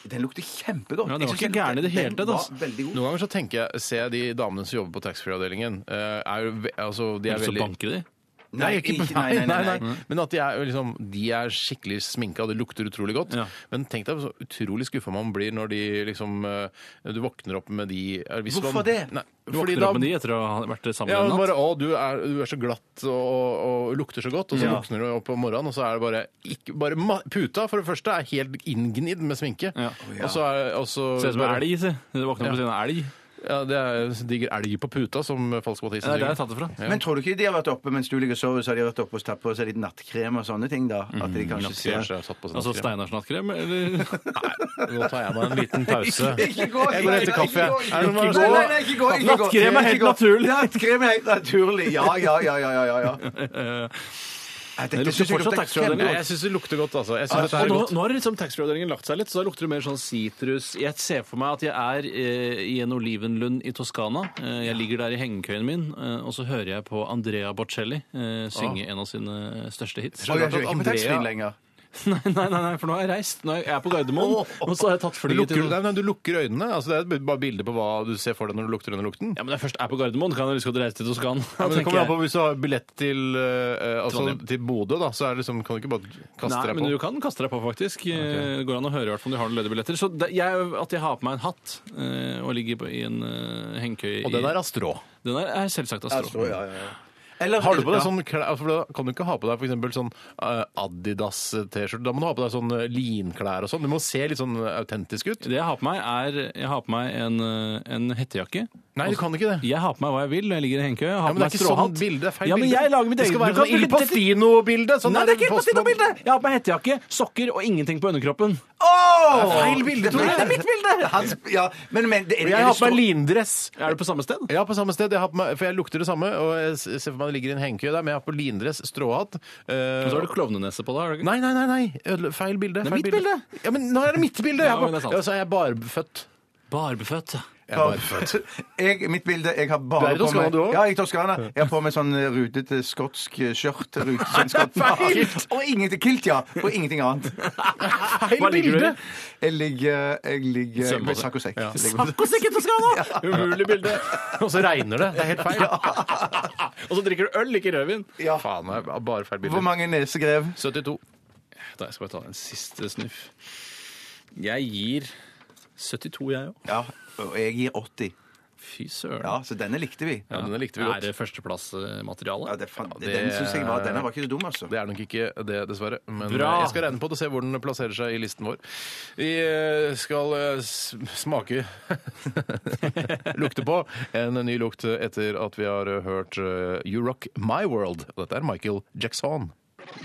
Den lukter kjempegodt.
Ja, den
Jeg
var
synes
ikke gæren i det hele tatt,
Den var
altså.
veldig god.
Noen ganger så tenker jeg, ser jeg de damene som jobber på taxfree-avdelingen eh, er jo ve- altså, De er
Så
veldig
banker de.
Nei, ikke, nei, nei, nei,
Mm.
Men at de er, jo liksom, de er skikkelig sminka, det lukter utrolig godt.
Ja.
Men tenk deg så utrolig skuffa man blir når de liksom eh, Du våkner opp med de eh, hvis
Hvorfor
man-
det?
Nei,
Du
fordi
våkner
da-
opp med de etter å ha vært sammen
ja,
en natt.
bare, å, du er, du er så glatt og, og, og lukter så godt, og så våkner du opp om morgenen, og så er det bare, ikke, bare ma- Puta, for det første, er helt inngnidd med sminke.
Ja.
Og så er og så
Ser ut som en
bare-
elg, se. Du våkner opp ved siden av elg.
Ja, det er digger elg på puta, som Falsk Mathisen
Det er der jeg
synger.
har tatt det fra.
Men tror du ikke de har vært oppe mens du ligger og sover, så har de vært oppe og tatt på seg litt nattkrem og sånne ting, da? At
Mm,
de kanskje ser
Kanskje jeg har satt på sånn
Altså
nattkrem.
Steinars nattkrem, eller?
Nå tar jeg meg en liten pause.
Ikke gå!
Jeg går etter kaffe. Er det noe-
Nei, nei, nei, ikke gå! Ikke gå.
Nattkrem er helt
Ikke gå.
naturlig.
Nattkrem er helt naturlig. Ja, ja, ja, ja, ja, ja, ja. Nei,
Det
Dette
lukter
synes jeg
fortsatt taxfree,
kjempe-
den
Nei, jeg syns det lukter godt, altså. Jeg synes dette
Og
er
nå,
godt.
nå har liksom taxfree-avdelingen lagt seg litt, så da lukter det mer sånn sitrus. Jeg ser for meg at jeg er eh, i en olivenlund i Toskana. Eh, jeg ligger der i hengekøyen min, eh, og så hører jeg på Andrea Bocelli eh, synge
Ah.
en av sine eh, største hits.
Å, jeg er ikke på taxfree
Andrea...
lenger.
Nei, nei, nei, nei, for nå har jeg reist. Nå er jeg- jeg er på Gardermoen, og så har jeg tatt
Du
flyet
lukker,
til
nei, nei, du lukker øynene. Altså, det er bare bilde på hva du ser for deg når du lukter denne lukten.
Ja, men når jeg først er på Gardermoen, kan jeg lyst til å reise til Toskana.
Ja, men det
tenker
kommer an
jeg.
på Hvis du har billett til, eh, altså,
Trondheim.
til Bodø, da, så er det liksom, kan du ikke bare kaste
Nei,
deg
men
på.
du kan kaste deg på, faktisk. Eh, Det går an å høre i hvert fall om de har noen ledige billetter. Så det, jeg, at jeg har på meg en hatt eh, og ligger på, i en eh, hengekøye
Og den er av strå.
i- den er, er selvsagt av strå.
Ja, ja, ja. Eller-
Har du på deg
Ja.
sånn klær, altså, for da kan du ikke ha på deg for eksempel sånn eh, Adidas-T-skjorte. Da må du ha på deg sånn eh, linklær og sånn. Du må se litt sånn eh, autentisk ut.
Det jeg har på meg, er jeg har på meg en, eh, en hettejakke.
Nei, du kan ikke det.
Jeg har på meg hva jeg vil når jeg ligger i en hengekøye. Jeg
Ja,
har
men det
på meg
er ikke sånn
stråhatt.
bilde. Det er feil
ja, men
bilde.
jeg lager mitt
det
eget
skal være sånn Il Postino-bilde. Sånn
Nei, det er ikke helt
Postman-
på bildet! Jeg har på meg hettejakke, sokker og ingenting på underkroppen.
Åh!
Feil bilde, Tore.
Nei, det er mitt bilde! Hans, ja, men, men, det, er,
Jeg
er
har
det
på meg
stor-
lindress.
Er du på samme sted?
Ja, på samme sted. Jeg har på meg, for jeg lukter det samme. Og jeg s- ser for meg det ligger i en hengekøye der, men jeg har på lindress, stråhatt. eh,
Så har du klovnenese på deg. har du ikke?
Nei, nei, nei, nei. Ødele- Feil bilde.
er
feil
mitt
Ja, men nå er det mitt bilde!
Ja,
Jeg har
men det er
bare-
sant.
Ja, så er jeg barfødt.
Barbeføtt.
Jeg er barfødt.
Jeg, mitt bilde Jeg har
Du er
bare
i
på
Toskana,
meg
du også?
Ja, jeg er i Toskana. Jeg har på meg sånn eh, rutete skotsk eh, skjørt. Rute, sånn skott.
Feil!
Og ingenting kilt, ja. Og ingenting annet.
Feil bilde!
Jeg ligger Jeg ligger
Sømmer
med
det.
sakk og sekk.
Ja.
Jeg ligger-
Sakkosekken til Skana! Umulig bilde.
Og så regner det. Det er helt feil.
Og så drikker du øl, ikke rødvin.
Ja.
Faen, jeg har bare feil
Hvor
bilde.
mange nesegrev?
72.
Da skal jeg ta en siste snuff. Jeg gir 72, jeg òg.
Ja, og jeg gir 80.
Fy søren.
Ja, så denne likte vi.
Ja, denne likte vi godt.
Er det førsteplassmateriale?
Ja, det, fan,
det-
den synes jeg var, denne var ikke så dum, altså.
Det er nok ikke det, dessverre. Men
Bra.
eh, jeg skal regne på det og se hvor den plasserer seg i listen vår. Vi eh, skal eh, s- smake lukte på en ny lukt etter at vi har eh, hørt eh, You Rock My World. Og Dette er Michael Jackson.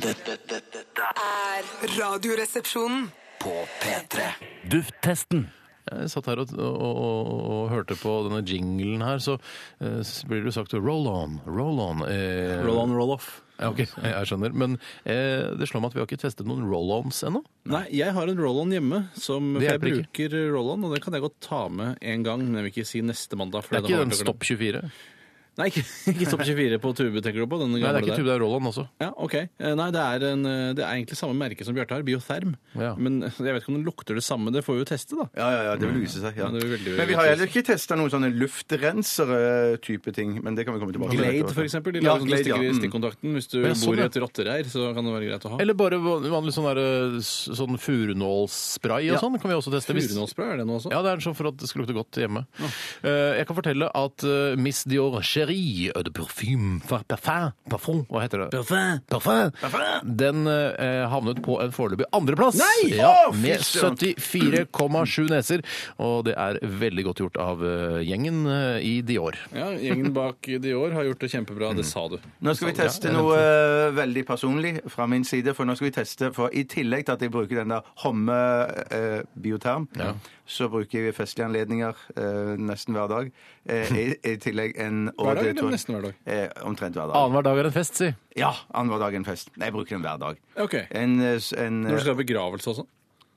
Dette, dette, dette er
er Radioresepsjonen.
på P3.
Dufttesten.
Jeg satt her og, og, og, og hørte på denne jinglen her, så eh, s- blir det jo sagt roll on, roll on. eh,
Roll on, roll off.
Ja, ok, jeg skjønner. Men eh, det slår meg at vi har ikke testet noen roll-ons ennå.
Nei, jeg har en roll-on hjemme. Som
Det
for jeg
hjelper
bruker roll-on, og den kan jeg godt ta med en gang. Men jeg vil ikke si neste mandag. for
Det er
da
ikke
har
den
jeg klokka-
Stopp 24.
Nei, ikke, ikke Stopp 24 på Tube, tenker du på? Den
Nei, det
gamle
er ikke
der.
Tube, det er roll-on også.
Ja, ok. Eh, Nei, det er, en, eh, det er egentlig samme merke som Bjarte har, Biotherm.
Ja.
Men eh, jeg vet ikke om den lukter det samme. Det får vi jo teste, da.
Ja, ja, ja, det vil vise seg. Ja.
Mm. Ja, det vil veldig
Men vi har heller ikke testa noen sånne luftrensere-type ting. Men det kan vi komme tilbake
Glade, for eksempel. De
Ja,
lager sånn
Glade, ja.
stikker i
Mm.
stikkontakten. Hvis du
Ja, sånn,
bor
ja.
i et rottereir, så kan det være greit å ha.
Eller bare van- vanlig sånn, der, eh, s- sånn furunålsspray og
Ja.
sånn kan vi også teste. hvis-
Furunålspray, er det noe også?
Ja, det er sånn for at det skal lukte godt hjemme. Eh, jeg kan fortelle at eh, Miss Dior Chérie Eau de Parfum par- Parfum Parfum, hva heter det? Parfum! Den eh, havnet på en foreløpig andreplass.
Nei!
Ja,
Å, fy
med
søren.
74,7 neser. Og det er veldig godt gjort av eh, gjengen eh, i Dior.
Ja, Gjengen bak Dior har gjort det kjempebra.
Mm.
Det sa du.
Nå skal vi teste noe eh, veldig personlig fra min side. For nå skal vi teste, for i tillegg til at jeg bruker den der Homme-bioterm, så bruker jeg festlige anledninger eh, nesten hver dag. Eh, i, I tillegg en og
Hver dag
det
eller
tror jeg-
nesten hver dag?
Eh, omtrent hver dag.
Annenhver dag er en fest, si.
Ja, annenhver dag en fest. Nei, jeg bruker den hver dag.
Ok.
En, eh, s- en, eh,
Når du skal ha begravelse og sånn.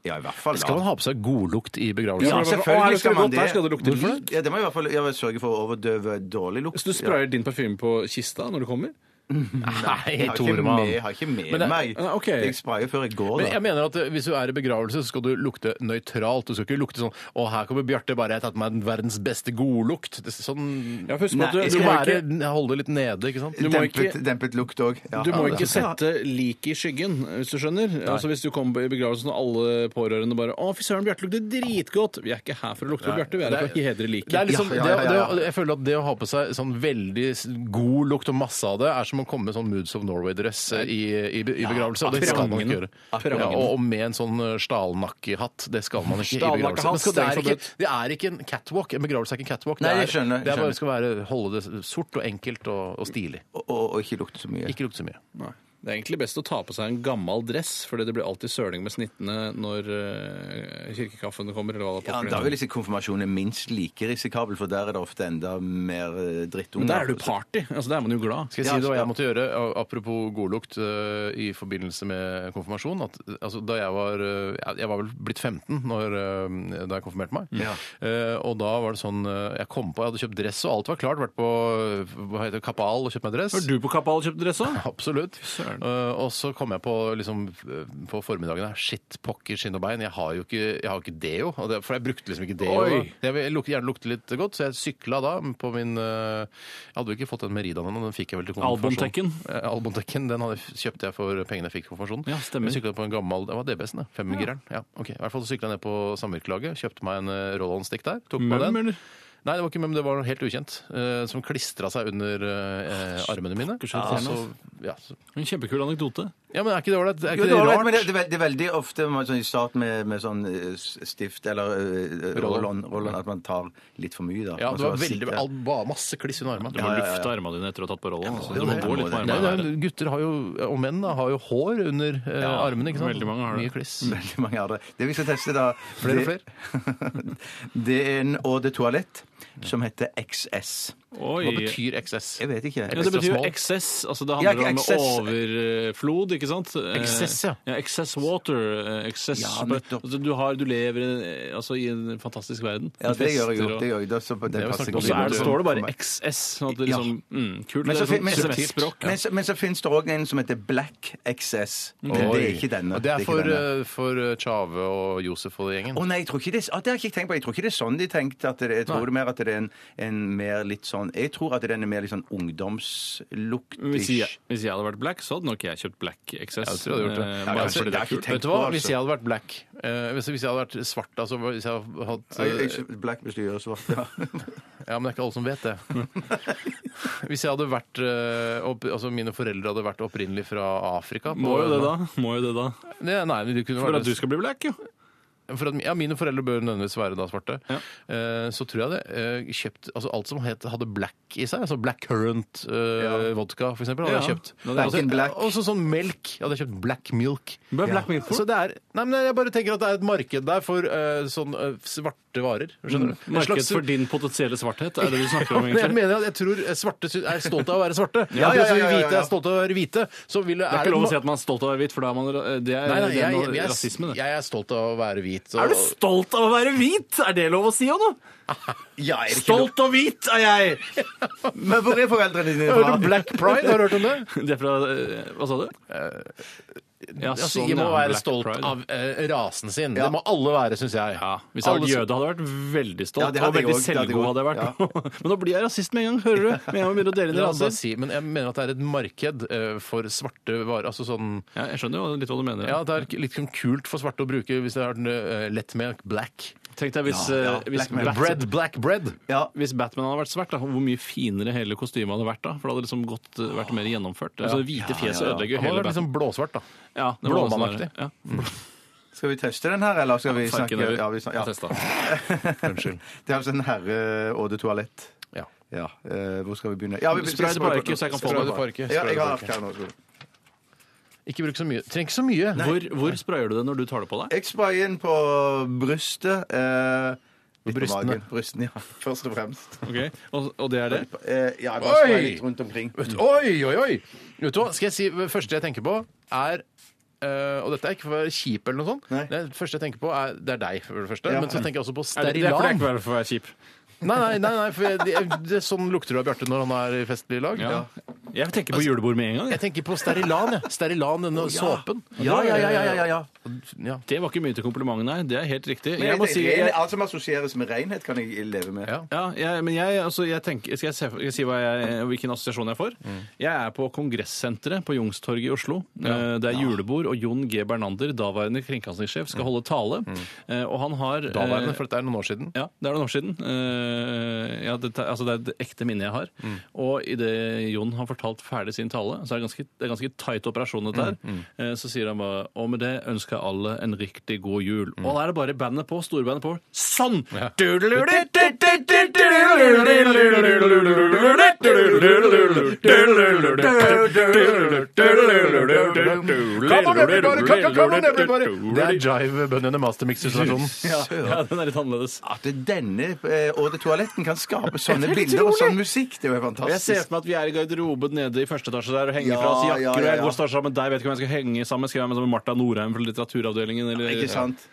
ja, i hvert fall.
Skal man
da.
ha på seg godlukt i begravelsen?
Ja,
Å, her
selvfølgelig skal
det
man
godt, Her skal det
det.
lukte
Hvorfor det?
litt.
Ja, det må jeg i hvert fall jeg sørge for å overdøve dårlig lukt.
Så du sprayer din parfyme på kista når du kommer?
Nei,
Jeg har ikke
Toremann.
med, jeg har ikke med
Men det-
meg.
Ah, ok.
Jeg sprayer før jeg går.
Men
da.
jeg mener at eh, hvis du er i begravelse, så skal du lukte nøytralt. Du skal ikke lukte sånn 'Å, her kommer Bjarte, bare jeg har tatt meg den verdens beste godlukt'. Det er Sånn
Ja, for husk på
Nei,
at du,
jeg
du,
skal
må
være,
ikke,
holde det litt nede, ikke sant?
du må ikke-
dempet, dempet lukt òg. Ja.
du må
Ja,
ikke
det-
sette liket i skyggen, hvis du skjønner. Altså Hvis du kommer i begravelsen og alle pårørende bare 'Å, fy søren, Bjarte lukter dritgodt'. Vi er ikke her for å lukte på Bjarte, vi er her for å hedre liket.
Det er liksom,
Ja, ja, ja, ja.
Det, det, jeg føler at det å ha på seg sånn veldig s- god lukt og masse av det, er som å komme med sånn Moods of Norway-dress eh, i, i, i begravelse. Og det skal man ikke gjøre.
Prangende.
Ja, og, og med en sånn eh, stalnakkehatt. Det skal man ikke i
Stalnakkehatt,
begravelse. Men skal, det, er
strengt
ikke, det er ikke en catwalk. En begravelse er ikke en catwalk.
Nei,
det
jeg skjønner, jeg
det er
skjønner.
bare skal være, holde det sort og enkelt og, og stilig.
og, og ikke lukte så mye.
Ikke lukte så mye.
Nei. Det er egentlig best å ta på seg en gammel dress, for det blir alltid søling med snittene når eh, kirkekaffen kommer. Eller hva det
Ja,
pokker
Da
heter.
vil jeg si konfirmasjon er minst like risikabel, for der er det ofte enda mer eh, drittunger.
Men da er du party. Altså, Da er man jo glad.
Skal jeg
Ja,
si det hva
ja.
jeg måtte gjøre, a- apropos godlukt, eh, i forbindelse med konfirmasjon? At, eh, altså, da jeg var, eh, jeg- jeg var vel blitt 15 når, eh, da jeg konfirmerte meg.
Ja.
Eh, og da var det sånn eh, Jeg kom på, jeg hadde kjøpt dress, og alt var klart. Vært på eh, hva heter det, Kapal og kjøpt meg dress.
Var du på Kapal og kjøpte dress òg?
Absolutt.
Søren.
Eh, og så kom jeg på liksom, eh, på formiddagen her, shit, pokker, skinn og bein. Jeg har jo ikke, jeg har ikke deo. og det- For jeg brukte liksom ikke deo.
Oi.
Jeg vil luk- gjerne lukte litt godt, så jeg sykla da på min eh, Jeg hadde jo ikke fått den Meridaen ennå, den fikk jeg vel til konfirmasjon.
Albontekken.
Eh, Albontekken den hadde, kjøpte jeg for pengene jeg fikk i konfirmasjon.
Ja, stemmer.
Jeg sykla på en gammel det var DBS-en, det. Femmegireren. Ja. ok. I hvert fall sykla jeg ned på samvirkelaget, kjøpte meg en eh, roll-on-stick der. Tok på
Møm,
den.
eller?
Nei, det var ikke møm, det var helt ukjent. eh, som klistra seg under eh, armene mine.
pokker, så irriterende,
så- ja, så,
En kjempekul anekdote.
ja, men er ikke det ålreit? Er
Jo,
ikke
det, er
det
all right,
rart?
men det, det, er veld- det er veldig ofte man, sånn, i starten med, med sånn eh, s- stift eller eh, eh,
Roll-on.
roll-on, roll-on, at man tar litt for mye. Da. Altså,
Ja,
Man
det
skal
var
bare
veldig,
sitte-
all, bare masse kliss under armene.
Du må lufte armene dine etter å ha tatt på rollen. altså. Du må
det.
gå litt på
Nei,
Nei,
armene.
det er,
her.
gutter har jo, og menn da, har jo hår under eh,
Ja,
armene. ikke sant?
veldig mange har det.
Mye kliss.
Veldig mange av det. Det vi skal teste, da
Flere og
det- Det er en Eau de Toilette som heter XS.
Hva
Oi.
betyr XS?
Jeg vet ikke.
Ja, det betyr jo
smal.
excess. Altså, det
Ja,
handler om
excess.
overflod, ikke sant? Eh,
Excess, ja.
ja. Excess water. eh, Excess
Ja, nettopp.
altså, du, har, du lever eh, altså, i en fantastisk verden.
Ja, det gjør jeg jo.
Fester og-
Det gjør jeg. Da, så på den
Det er jo
passer
snakket
ikke
om.
Og så er det,
for
står det bare
meg.
XS. Sånn at det
Ja.
liksom, mm, kult.
men
Det
så,
er sånn
men, så,
SMS-språk.
men, så, men så finnes det òg en som heter Black XS.
Mm.
Men det er ikke denne.
Og det er
ikke
for,
denne.
eh, for eh, Tjave og Josef og gjengen.
Å nei, jeg tror ikke det, ah, det har jeg ikke tenkt på. Jeg tror ikke det er sånn de tenkte. At det, jeg tror det er mer at det er en, en mer litt sånn Jeg tror at den er mer litt sånn
Hvis
ungdomslukt-ish.
jeg, hvis jeg hadde vært black, så hadde nok jeg kjøpt black XS.
Jeg tror jeg hadde gjort det.
Eh,
Ja,
bare
kanskje.
fordi det
Det er
er
ikke
kult.
tenkt
Vet du
på,
hva,
altså.
hvis jeg hadde vært black, eh, hvis, hvis jeg hadde vært svart, altså hvis jeg hadde hatt
Jeg-
eh,
jeg- Black hvis du gjør svart, ja.
Ja, men det er ikke alle som vet det. Hvis jeg hadde vært eh, opp, Altså mine foreldre hadde vært opprinnelig fra Afrika på-
Må jo det, da. Må jo det da.
Nei, nei, men de kunne
For
vært
at du skal bli black, jo.
for at, ja, Mine foreldre bør nødvendigvis være da svarte.
Ja.
Eh, så tror jeg det eh, kjøpt altså alt som het, hadde black i seg, altså black currant eh, vodka f.eks., hadde
Ja.
jeg kjøpt.
Nå, det er
Også-
ikke en black.
Også sånn melk. Jeg hadde kjøpt black milk.
Hva er black milk for?
Så det er, nei, men jeg bare tenker at det er et marked der for eh, sånn eh, svarte varer. Skjønner du? En
Mm. Marked
slags-
for din potensielle svarthet, er det du snakker om,
Men jeg
egentlig?
mener at jeg tror eh, svarte sy- er stolt av å være svarte.
Ja, ja, ja, ja, ja, ja.
Hvite er stolt av å være hvite. Så vil,
Det er ikke lov å si at man er stolt av å være hvit, for da er man ra-
Nei, nei,
Det er, det er
jeg,
noe
jeg,
rasisme,
jeg,
det.
er stolt av å være hvit. og-
Er du stolt av å være hvit? Er det lov å si, Anno?
Ja, er det ikke
Stolt og hvit er jeg!
lov? Men hvor er foreldrene dine
Hører du
fra?
Black Pride? Har du hørt om det?
Det er fra eh, Hva sa du? Ja,
Altså,
sånn,
jeg må
ja,
være
Black
stolt
Pride.
av eh, rasen sin. Det må alle være, syns jeg.
Ja, Hvis jeg hadde vært
Alle
jøde, hadde jeg vært veldig stolt.
Ja, det hadde
og
jeg
veldig
også, det hadde jeg
selvgod hadde jeg vært. Men nå blir jeg rasist med en gang, hører du? Med en gang jeg begynner å dele inn i
La meg bare
raser.
si, men jeg mener at det er et marked eh, for svarte varer. Altså sånn
Ja, jeg skjønner jo litt hva du mener.
Ja, det er litt sånn kult for svarte å bruke hvis det er den, eh, lett med black.
Tenk deg hvis,
Ja, ja,
eh, hvis,
black man.
Bat-
Bread, black bread.
Ja.
hvis Batman hadde vært svart, da, hvor mye finere hele kostymet hadde vært da. For det hadde liksom gått, eh, vært mer gjennomført. Altså, det hvite fjeset ødelegger jo
Han må
hele
være litt
Batman.
sånn blåsvart, da.
Ja, det var noe sånn
blåmannaktig.
der. Ja.
Skal vi teste den her, eller skal vi
Farken,
snakke
eller?
ja, vi snakker,
Jeg
ja.
testet.
Unnskyld.
Det er altså en herre-Åde toalett.
Ja.
Ja. eh, hvor skal vi begynne? Ja, vi
Spray det på arket, så jeg kan få
Spray
meg
det på arket.
Ja,
Spray det
jeg
på
har
arket.
afghan nå. tror jeg.
Ikke bruk så mye. Trenger ikke så mye.
Hvor, hvor sprayer du det når du tar det på deg?
Jeg sprayer inn på brystet. Eh, litt på
brystene?
magen. Brystene, ja. Først og fremst.
Ok, Og, og det er det?
Eh, ja, jeg
Oi!
bare sprayer litt rundt omkring.
Vet, oi, oi, oi! Vet du hva, skal jeg si, det første jeg tenker på er eh, og dette er ikke for å være kjip, eller noe sånt.
Nei.
Det første jeg tenker på er, det er deg, for det første.
Ja.
Men så tenker jeg også på
Er det, det er fordi jeg
Sterilan.
ikke vil være kjip.
Nei, nei, nei, nei for jeg, det, det, sånn lukter du av Bjarte når han er i festlig lag.
Ja. Jeg tenker
Altså-
på julebord med en gang. jeg.
Jeg tenker på Sterilan, jeg. Sterilan, denne såpen.
Ja, ja, ja, ja, ja, ja, ja.
Ja.
Det var ikke mye til komplimenten, nei. Det er helt riktig.
Men
Jeg må si,
ren-
jeg,
eh, Alt som assosieres med renhet, kan jeg leve med.
Ja.
Ja, jeg, men jeg, altså, jeg tenker, skal jeg, se, skal jeg si hva jeg, hvilken assosiasjon jeg får?
Mm.
Jeg er på Kongressenteret på Youngstorget i Oslo. Eh, Det er julebord, og Jon G. Bernander, daværende kringkastingssjef,
Mm.
skal holde tale. Eh, Og han har eh,
Daværende, for dette er noen år siden.
ja, det er noen år siden. Eh, ja, det, altså det er et ekte minne jeg har.
Mm.
Og idet Jon har fortalt ferdig sin tale, så er det ganske, det er ganske tight operasjon dette her,
Mm,
eh, så sier han bare Og med det ønsker jeg alle en riktig god jul.
Mm.
Og da er det bare bandet på, storbandet på. Sånn!
Come
Come
on everybody, come, come, come on everybody! Det er Jive Bunyan Mastermix-isolasjonen.
ja, ja, den er litt annerledes.
At denne eh, Åde toaletten kan skape sånne bilder og sånn musikk, det er jo helt
Jeg ser
fantastisk.
for meg at vi er i garderoben nede i første etasje der og henger
Ja,
fra oss jakker.
ja, ja,
Og jeg
ja.
går snart sammen med deg, vet ikke hvem jeg skal henge sammen med. Skal jeg være med sammen med Martha Norheim fra Litteraturavdelingen? Eller,
Ikke sant?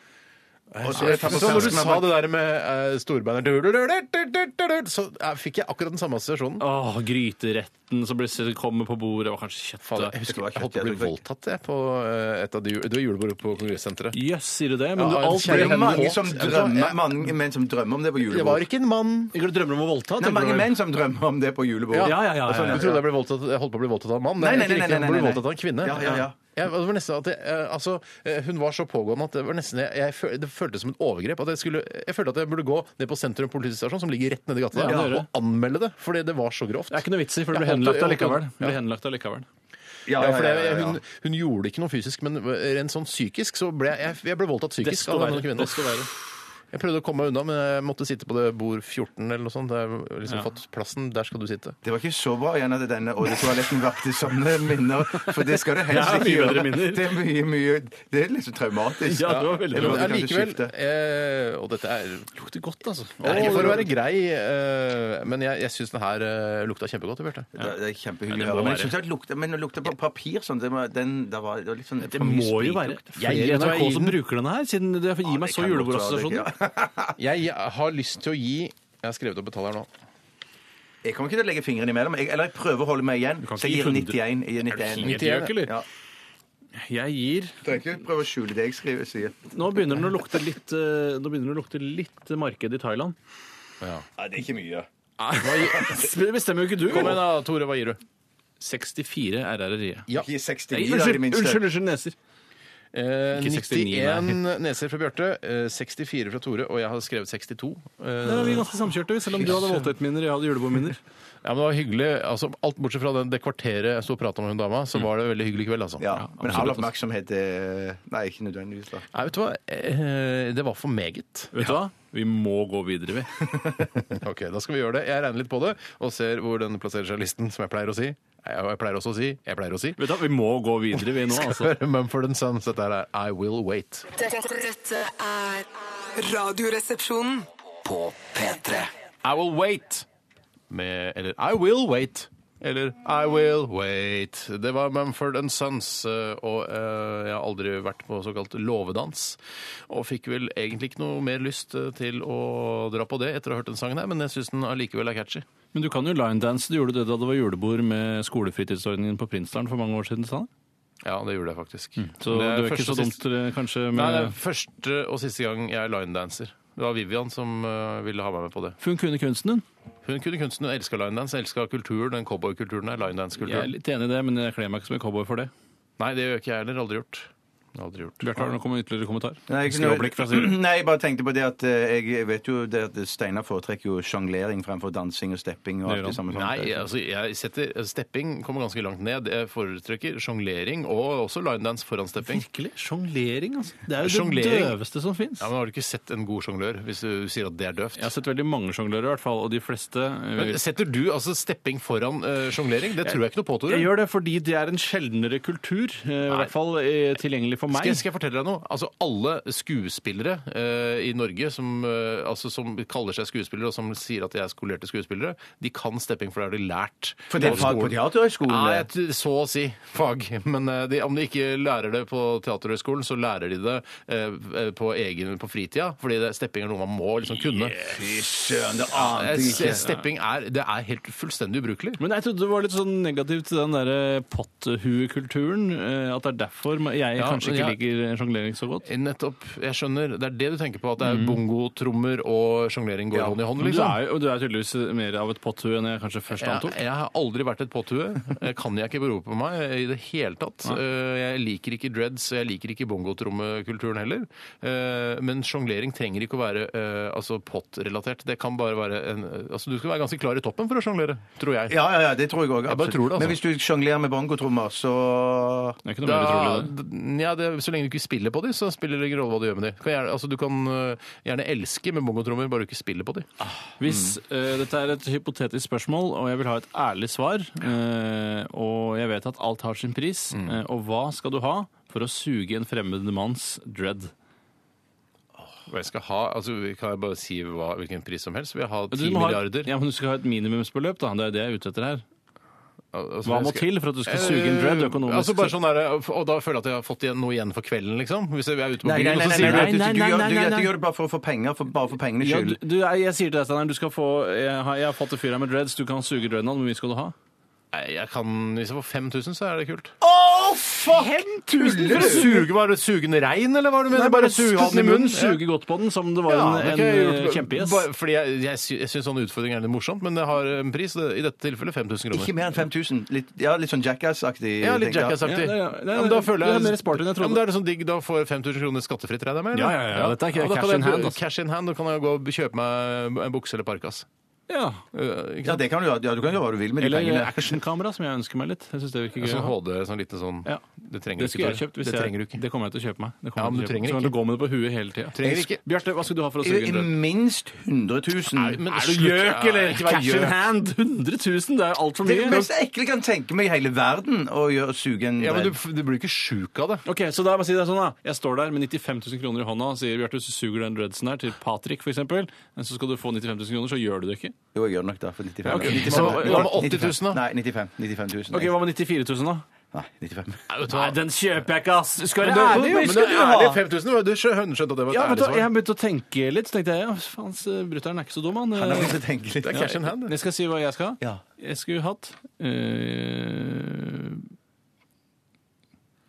Og så er det
Så når du
fantastisk.
sa det der med uh, storbandet Så eh, fikk jeg akkurat den samme assosiasjonen.
Åh, gryteretten som blir, kommer på bordet, og kanskje
Fader,
kjøttet.
jeg husker
var
jeg holdt på å bli
kjøttdeig, du
voldtatt jeg, på eh, et av de Det var julebord på Kongressenteret.
Jøss, sier du det? Men
Ja,
du, alt
Det
kjære
er jo
blir
mange
Helt
som
våt.
drømmer, mange menn som drømmer om det på
Det var
julebord.
ikke en mann.
Ikke du drømmer om å voldta?
Det er
tenker du?
mange menn som drømmer om det på julebord.
Ja, ja, ja.
Altså, Du
ja, ja.
trodde jeg, ble voldtatt, jeg holdt på å bli voldtatt av en mann? men
Nei, nei,
jeg
nei,
likte
nei,
å bli
nei, nei.
voldtatt av en kvinne.
Ja, ja, ja.
Jeg, det var nesten at jeg, eh, altså, eh, hun var så pågående at det, var nesten, jeg, jeg, føl- det føltes som et overgrep. At jeg, skulle, jeg følte at jeg burde gå ned på Sentrum politistasjon, som ligger rett nedi gata,
Ja, det gjør det.
og anmelde det. Fordi det var så grovt.
Det er ikke noe vits i, for du
Jeg
blir henlagt
holdt- jeg holdt-
allikevel. Du blir henlagt allikevel.
Ja,
Ja,
ja,
for
ja,
det,
ja, ja.
Hun, hun gjorde ikke noe fysisk, men rent sånn psykisk så ble jeg- jeg, jeg ble voldtatt psykisk
Desto
av denne
verre.
kvinnen.
Desto verre.
Jeg prøvde å komme meg unna, men jeg måtte sitte på det bord 14 eller noe sånt. Jeg har liksom
Ja.
fått plassen, der skal du sitte.
Det var ikke så bra igjen at denne toaletten vakte sånne minner. For det skal du
Det er
helst ikke
mye bedre
gjøre.
minner.
Det er mye, mye Det er liksom traumatisk.
Ja, det var veldig
Eller
bra.
man kan
Allikevel,
skifte.
eh, og dette er
Lukter godt, altså.
det er ikke for å være grei, eh, men jeg, jeg syns den her eh, lukta kjempegodt. Bjarte.
Det er- det er kjempehyggelig
Ja, det
å
må
høre. Men
være.
jeg synes det lukter, men å lukte på papir sånn, det var, den, det var, det var litt sånn
Det må jo være
Jeg-
flere
jeg tror jeg
NRK
gir
som
den-
bruker denne her, siden det gir meg så julebordassosiasjoner.
Ja.
Jeg har lyst til å gi Jeg har skrevet opp et tall her nå.
Jeg kommer ikke til å legge fingrene imellom. Jeg, eller jeg prøver å holde meg igjen.
kan
Så
ikke
jeg gir
gi
91. Jeg gir
Er du
91.
helt gjøk, eller?
Ja.
Jeg gir
Trenger ikke prøve å skjule det jeg skriver. Sier.
Nå begynner den å lukte litt, eh, nå begynner den å lukte litt marked i Thailand.
Nei, det er ikke mye.
Det bestemmer jo ikke du.
Kom igjen da, Tore. Hva gir du?
64 RR-riet.
Gi 69,
Nei,
da, i det
unnskyld,
minste.
unnskyld, unnskyld, neser.
Eh,
Ikke 69,
91 neser fra Bjarte, eh, 64 fra Tore, og jeg har skrevet 62. Eh,
Ja, vi er ganske samkjørte, vi, selv om du hadde voldtektsminner og jeg hadde julebordminner.
ja, men det var hyggelig. Altså, alt bortsett fra den, det kvarteret jeg sto og prata med hun dama, så var det veldig hyggelig kveld, altså.
Ja, men
absolutt,
all
altså.
oppmerksomhet eh, Nei, ikke nødvendigvis, da.
Nei, vet du hva? Eh, det var for meget.
Vet du hva? Vi må gå videre, vi.
Ok, Da skal vi gjøre det. Jeg regner litt på det og ser hvor den plasserer seg i listen, som jeg pleier å si. Jeg, jeg pleier også å si. Jeg pleier å si.
Vet du hva? Vi må gå videre, vi nå, altså.
Hør Mumford Sons, sånn, dette her er I Will Wait.
Dette, dette er Radioresepsjonen.
På P3
I Will Wait. Med, eller I Will Wait. Eller I Will Wait. Det var Mumford and Sons, eh, og eh, jeg har aldri vært på såkalt låvedans. Og fikk vel egentlig ikke noe mer lyst eh, til å dra på det etter å ha hørt den sangen her, men jeg syns den allikevel er catchy.
Men du kan jo linedance. Du gjorde det da det var julebord med skolefritidsordningen på Prinsdalen for mange år siden. Sanne.
Ja, det gjorde jeg faktisk.
Mm. Så det
Det
er,
er
ikke
første
så
og
dumt,
siste-
eh, kanskje, med
Nei, det er første og siste gang jeg er linedanser. Det var Vivian som eh, ville ha meg med på det.
For hun kunne kunsten, hun.
Hun kunne kunsten, hun elska linedance, elska kulturen, den cowboykulturen der.
Jeg er
Linedance-kulturen.
litt enig i det, men jeg kler meg ikke som en cowboy for det.
Nei, det gjør ikke jeg heller. Aldri gjort. Aldri gjort.
Bjarte, har du noen ytterligere kommentar?
Nei, ikke noe-
Skråblikk fra Siri.
Nei, jeg bare tenkte på det at eh, jeg vet jo det at Steinar foretrekker jo sjonglering fremfor dansing og stepping og
Det
alt
gjør
det samme.
Nei, altså jeg setter Stepping kommer ganske langt ned. Jeg foretrekker sjonglering og også linedance foran stepping.
Virkelig? Sjonglering, altså. Det er
jo det
døveste som fins.
Ja, men Har du ikke sett en god sjonglør hvis du sier at det er døvt?
Jeg har sett veldig mange sjonglører, i hvert fall, og de fleste eh,
Men Setter du altså stepping foran eh, sjonglering? Det tror jeg ikke noe på, Tore.
Jeg gjør det fordi det er en sjeldnere kultur, eh, i hvert fall eh, tilgjengelig for meg.
Skal jeg, skal jeg fortelle deg noe? Altså, alle skuespillere eh, i Norge som, eh, altså, som kaller seg skuespillere, og som sier at de er skolerte skuespillere, de kan stepping, for det har de lært.
For det er
på
fag på
skolen.
teaterhøyskolen.
Nei,
det.
jeg t- så å si fag. Men eh, de, om de ikke lærer det på Teaterhøgskolen, så lærer de det eh, på, egen, på fritida. Fordi det, stepping er noe man må liksom kunne.
Fy søren, det ante
Eh,
jeg ikke.
Stepping er, det er helt fullstendig ubrukelig.
Men jeg trodde det var litt sånn negativt til den derre pottehuekulturen. eh, At det er derfor ma- jeg
Ja,
kanskje
men
ikke
jeg-
liker sjonglering så godt.
Nettopp. Jeg skjønner. Det er det du tenker på, at det er
Mm.
bongotrommer og sjonglering går hånd i hånd,
Men Du
liksom.
er, jo- du er tydeligvis mer av et potthue enn jeg kanskje først
Jeg,
antok.
jeg har aldri vært et potthue. Eh, Kan jeg ikke bero på meg i det hele tatt. Eh, Jeg liker ikke dreads, jeg liker ikke bongotrommekulturen heller. Eh, Men sjonglering trenger ikke å være eh, altså, pott-relatert. Det kan bare være en Altså, du skal være ganske klar i toppen for å sjonglere, tror jeg.
Ja, ja, ja, det tror jeg òg.
Jeg bare tror det, altså.
Men hvis du sjonglerer med bongotrommer, så
Det er ikke noe mer
Da,
utrolig i det.
d- ja, det, så lenge du ikke spiller på dem, så spiller det ingen rolle hva du gjør med dem. Kan gjerne, altså, du kan eh, gjerne elske med bongotrommer, bare du ikke spiller på dem.
Hvis eh, dette er et hypotetisk spørsmål, og jeg vil ha et ærlig svar, eh, og jeg vet at alt har sin pris, eh, og hva skal du ha for å suge en fremmed manns dread?
Hva jeg skal ha, altså, kan jeg bare si hva, hvilken pris som helst? Vil jeg ha
Men
ti
må ha-
milliarder?
Ja, men du skal ha et minimumsbeløp, da. Det er det jeg er ute etter her.
Altså,
Hva
jeg
må
skal-
til for at du skal Eh, suge en dread økonomisk?
Altså bare sånn der, og da føler jeg at jeg har fått igjen noe igjen for kvelden, liksom. Hvis jeg er ute på
Nei,
byen,
nei,
og så
nei, nei,
sier du
nei,
at
du,
nei,
du,
nei,
gjør,
nei,
du,
nei,
gjør-
nei.
du gjør det bare for å få penger, for, bare for pengenes
Ja,
skyld.
du, du, jeg, jeg sier til deg, Steinar, du skal få jeg har, jeg har fått det fyret med dreads, du kan suge dreaden, men hvor mye skal du ha?
Nei, jeg kan, Hvis jeg får 5000, så er det kult.
Tuller du?
Suge, var det sugende rein, eller hva du mener? Bare suge ha den i munnen?
Suge godt på den som det var
Ja, det
en, en
kan jeg gjøre.
eh, kjempegjess.
Bare Fordi jeg, jeg, sy- jeg syns sånne utfordringer er litt morsomt, men det har en pris. Det, I dette tilfellet 5000 kroner.
Ikke mer enn 5000. Litt, ja, litt sånn Jackass-aktig.
ja, litt
tenker jeg.
Jackass-aktig.
Ja, ja, ja. Nei,
Ja, men da
nei,
føler
du
jeg
er mer smart enn jeg trodde.
Ja, men da er det sånn digg, da får jeg 5000 kroner skattefritt, regner jeg med?
Ja,
eller?
ja, ja, dette er ikke
Og da
cash
kan jeg
in
gå-
hand, altså.
Cash in hand, Da kan jeg gå og kjøpe meg en bukse eller parkas.
Ja.
Eh, Ikke sant?
Ja, det kan du, gjøre. ja, du kan gjøre hva du vil med de
Eller
eh,
pengene.
actionkamera, som jeg ønsker meg litt. Jeg synes det virker gøy.
Sånn
å ha.
HD, sånn liten sånn
Ja.
Det trenger du
Det
ikke.
skulle jeg
Tore.
kjøpt. Hvis
det trenger du
jeg,
ikke.
det kommer jeg til å kjøpe meg. Det kommer
Ja, men du
jeg til å kjøpe meg.
trenger
Så kan
ikke.
du gå med det på huet hele tida.
Trenger ikke.
Bjarte, hva skal du ha for å suge
I
en dread?
minst 100
men-
000.
Er du
slutt.
gjøk, eller?
Ja, ikke vær
Cash in
gjøk.
hand! 100 000, det er altfor
det er det
mye.
mest ekle jeg kan tenke meg i hele verden, å gjøre suge en
Ja, men
bredd.
du, du blir ikke sjuk av det.
Ok, så da må jeg si det sånn da Jeg står der med 95 000 kroner i hånda og sier Bjarte, hvis du suger den dreadsen her til Patrick for eksempel Så skal du få 95 000 kroner, så gjør du det ikke
Jo, jeg gjør det nok da, for 95
Ja, ok.
95.
Så, hva
med 80 000 da?
Nei, 95 95 000.
Ok, hva med 94 000 da?
Nei, 95.
Nei, den kjøper jeg ikke, ass Du skal
Men
være ærlig, jo.
men
Skal
det
du
er
ha?
ærlig 5000. var- Du skjønte at det var et
Ja, vet
ærlig
du, hva,
svar.
jeg begynte å tenke litt Så tenkte jeg, ja, faen, brutteren er ikke så dum han
Nå
Eh,
må jeg tenke litt.
Det er cash in hand. det.
Jeg skal si hva jeg skal ha
Ja.
Jeg skulle hatt eh,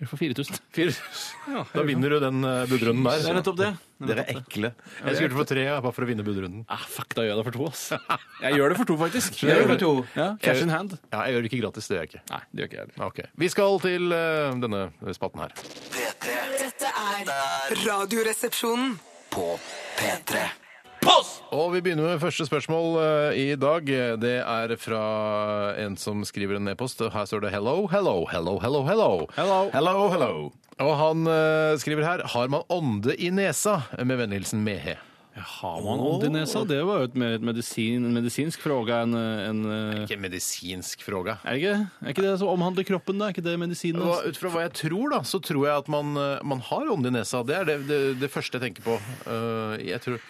Jeg får 4 000
Da vinner du den eh, budrunden der.
Det er nettopp det
Dere er ekle.
Jeg skulle få tre ja, bare for å vinne budrunden.
Ah, fuck, da gjør jeg det for to, ass Jeg gjør det for to, faktisk
Det er jo to.
Ja, Eh, cash in hand
Ja, jeg gjør det ikke gratis. Det gjør jeg ikke.
Nei, det gjør ikke jeg heller.
Ok. Vi skal til eh, denne spalten her.
P3
Dette er Radioresepsjonen.
På P3
Og vi begynner med første spørsmål eh, i dag. Det er fra en som skriver en e-post. Her står det 'hello, hello, hello, hello'. Hello,
Hello.
hello. hello. Og han eh, skriver her 'har man ånde i nesa?' med vennlig hilsen Mehe.
Har man ånd i nesa? Det var jo et mer et medisin, en medisinsk fråga enn en,
Ikke medisinsk fråga.
Er det ikke det? Er ikke det som omhandler kroppen, da? Er ikke det medisinen?
Hva, ut fra hva jeg tror, da, så tror jeg at man, eh, man har ånde i nesa. Det er det, det, det første jeg tenker på. Eh, jeg tror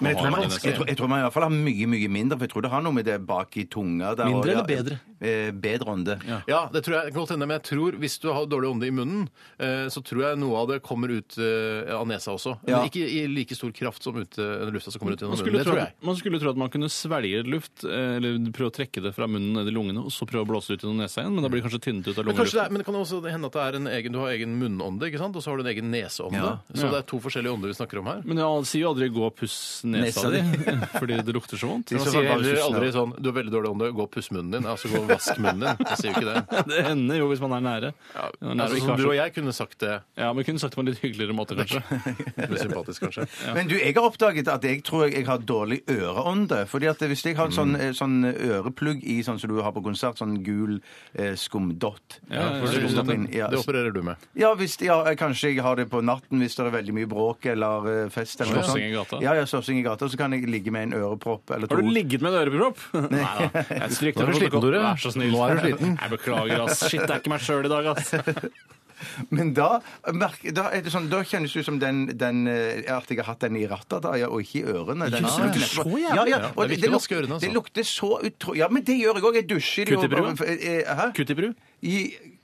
Men jeg tror, man,
det
jeg, tror, jeg tror man i hvert fall har mye mye mindre, for jeg tror det har noe med det bak i tunga der,
Mindre
og-
eller bedre?
Eh, bedre ånde.
Ja, det tror jeg det kan godt hende, men jeg tror hvis du har dårlig ånde i munnen, eh, så tror jeg noe av det kommer ut eh, av nesa også. Men
Ja.
ikke i like stor kraft som ute, eller lufta som kommer ut
Man
gjennom munnen.
skulle,
Det
tro
tror jeg.
at, man skulle tro at man kunne svelge luft, eh, eller prøve å trekke det fra munnen ned i lungene, og så prøve å blåse det ut gjennom nesa igjen, men da blir det kanskje tynnet ut av
Men, kanskje det,
lungeluften.
er, men det kan også hende at det er en egen, du har egen munnånde, ikke sant? og så har du en egen neseånde.
Ja.
Så
Ja.
det er to forskjellige ånder vi snakker om her.
Men jeg sier jo aldri 'gå og puss nesa
Nesa
di',
di.
fordi det lukter så vondt.
I
Man
så
sier
fall bare
heller
susen av.
aldri sånn 'du har veldig dårlig ånde, gå og puss munnen din'. Altså gå og vask munnen din. Man sier jo ikke det.
Det hender jo hvis man er nære. Ja, nære og
Altså,
ikke
som
har
du
så-
og jeg kunne sagt det.
ja men kunne sagt det på en litt hyggeligere måte, kanskje.
Litt sympatisk, kanskje.
Men du, jeg har oppdaget at jeg tror jeg har dårlig øreånde. Fordi at hvis jeg har en
Mm.
sånn, eh, sånn øreplugg i sånn som du har på konsert, sånn gul eh, skumdott
Ja,
Så
ja,
kommer
skumdott,
min- ja,
Det opererer du med.
Ja, hvis, ja, kanskje jeg har det på natten hvis det er veldig mye bråk eller eh, fest. Eller noe
Slåssing
sånt.
i gata.
Ja, ja, slåssing i gata. Så kan jeg ligge med en ørepropp eller to.
Har du ligget med en ørepropp? Nei da. Jeg stryker
Nå er du
deg
sliten,
på
Tore.
protokollen. Vær så snill.
Nå er du sliten.
Jeg beklager, ass. Shit, det er ikke meg sjøl i dag, ass.
Men da, merk- da, er det sånn, da kjennes det ut som den, den, eh, at jeg har hatt den i rattet, da, ja, og ikke i ørene. Den
Jøss,
har jeg
det er
knepet på.
så jævlig.
Ja, ja,
Ja, det er
og
viktig å vaske ørene, altså.
det lukter så utro... Ja, men det gjør jeg òg. Jeg dusjer jo
Kutt i brua?
eh, eh, Hæ?
Kutipru?
I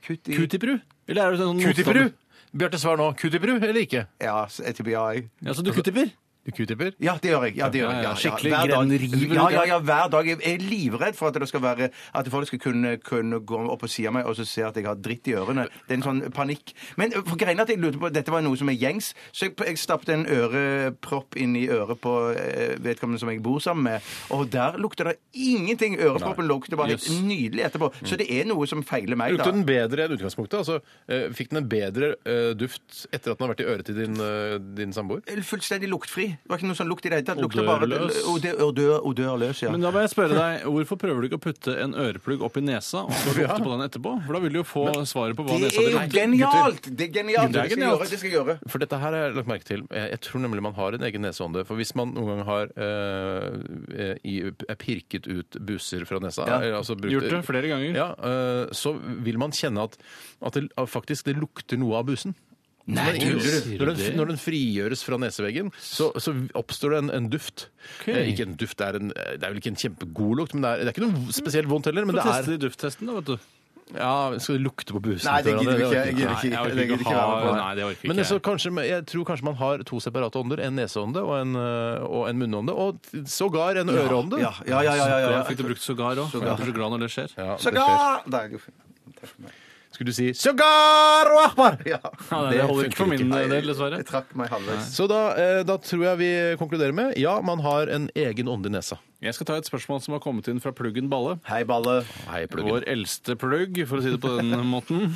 Kutt i
Kutipru? Eller er du sånn
Q-tipper du? Bjarte, svar nå. Q-tipper du eller ikke?
Ja, s- jeg tipper ja. jeg.
Ja, så du kutipper?
Du Q-tipper?
Ja, det gjør jeg. Ja, det gjør jeg.
Ja, ja, skikkelig
hver dag.
grenriver du
Ja, ja,
der.
ja, hver dag. Jeg er livredd for at det skal være at folk skal kunne, kunne gå opp på siden av meg og så se at jeg har dritt i ørene. Det er en sånn panikk. Men for greien er at jeg lurte på, dette var noe som er gjengs, så jeg, jeg stappte en ørepropp inn i øret på eh, vedkommende som jeg bor sammen med, og der lukter det ingenting. Øreproppen lukter bare helt
Jøss.
nydelig etterpå. Så det er noe som feiler meg, da.
Lukter den bedre enn utgangspunktet? Altså, eh, fikk den en bedre eh, duft etter at den har vært i øret til din, eh, din samboer?
Fullstendig luktfri. Det var ikke noe sånn lukt i det hele tatt. Lukter bare-
Odørløs.
Odør- Odør, odørløs, ja.
Men da må jeg spørre deg, hvorfor prøver du ikke å putte en øreplugg opp i nesa og så lukte på den etterpå? For da vil du jo få svaret på hva
Det
nesa
er
di
jo
lukter.
genialt! Det er genialt.
Det er
Det skal jeg
genialt.
gjøre. Det skal jeg gjøre.
For dette her har jeg lagt merke til. Jeg jeg tror nemlig man har en egen neseånde. For hvis man noen gang har eh, eh, i, er pirket ut buser fra nesa
Ja.
eller altså brukt-
Gjort det flere ganger.
Ja, eh, så vil man kjenne at, at det at faktisk det lukter noe av busen. Nei,
tuller du?
Når den, når den frigjøres fra neseveggen, så, så oppstår det en, en duft. Eh, ikke en duft, det er, en, det er vel ikke en kjempegod lukt, men det er, det er ikke noe spesielt vondt heller. Men
Få
det er,
teste de dufttesten, da, vet du.
ja, Skal du lukte på busen?
Nei, det
før han-
gidder vi
orker
ikke. Jeg gidder
Nei,
ikke.
jeg orker
Jeg gidder
ikke
ikke
ha
være med på det.
Nei, det orker
Men
ikke
så
jeg.
kanskje, jeg tror kanskje man har to separate ånder. En neseånde og en, øh, og en munnånde. Og sågar en øreånde.
Ja, ja, ja. ja, ja,
Da
ja.
fikk du brukt sågar òg. Jeg blir så glad når det skjer.
Ja, det
Så
skjer.
da- Nei, det går fint. Takk for meg.
Skulle du si 'Sogar og Akbar'?
Ja.
Ja, det, det holder ikke for
funker
min
Nei,
del, dessverre.
Jeg trakk meg halvveis.
Så da, eh, da tror jeg vi konkluderer med ja, man har en egen ånde i nesa.
Jeg skal ta et spørsmål som har kommet inn fra Pluggen Balle.
Hei, balle.
Hei, pluggen.
Vår eldste plugg, for å si det på den måten.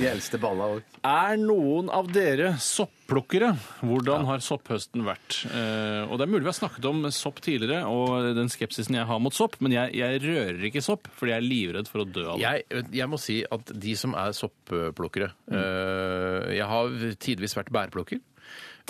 De eldste balla òg.
Er noen av dere sopplukkere? Hvordan har sopphøsten vært? Eh, og det er mulig vi har snakket om sopp tidligere, og den skepsisen jeg har mot sopp, men jeg, jeg rører ikke sopp, fordi jeg er livredd for å dø av det.
Jeg, jeg må si at de som er soppplukkere eh, Jeg har tidvis vært bærplukker.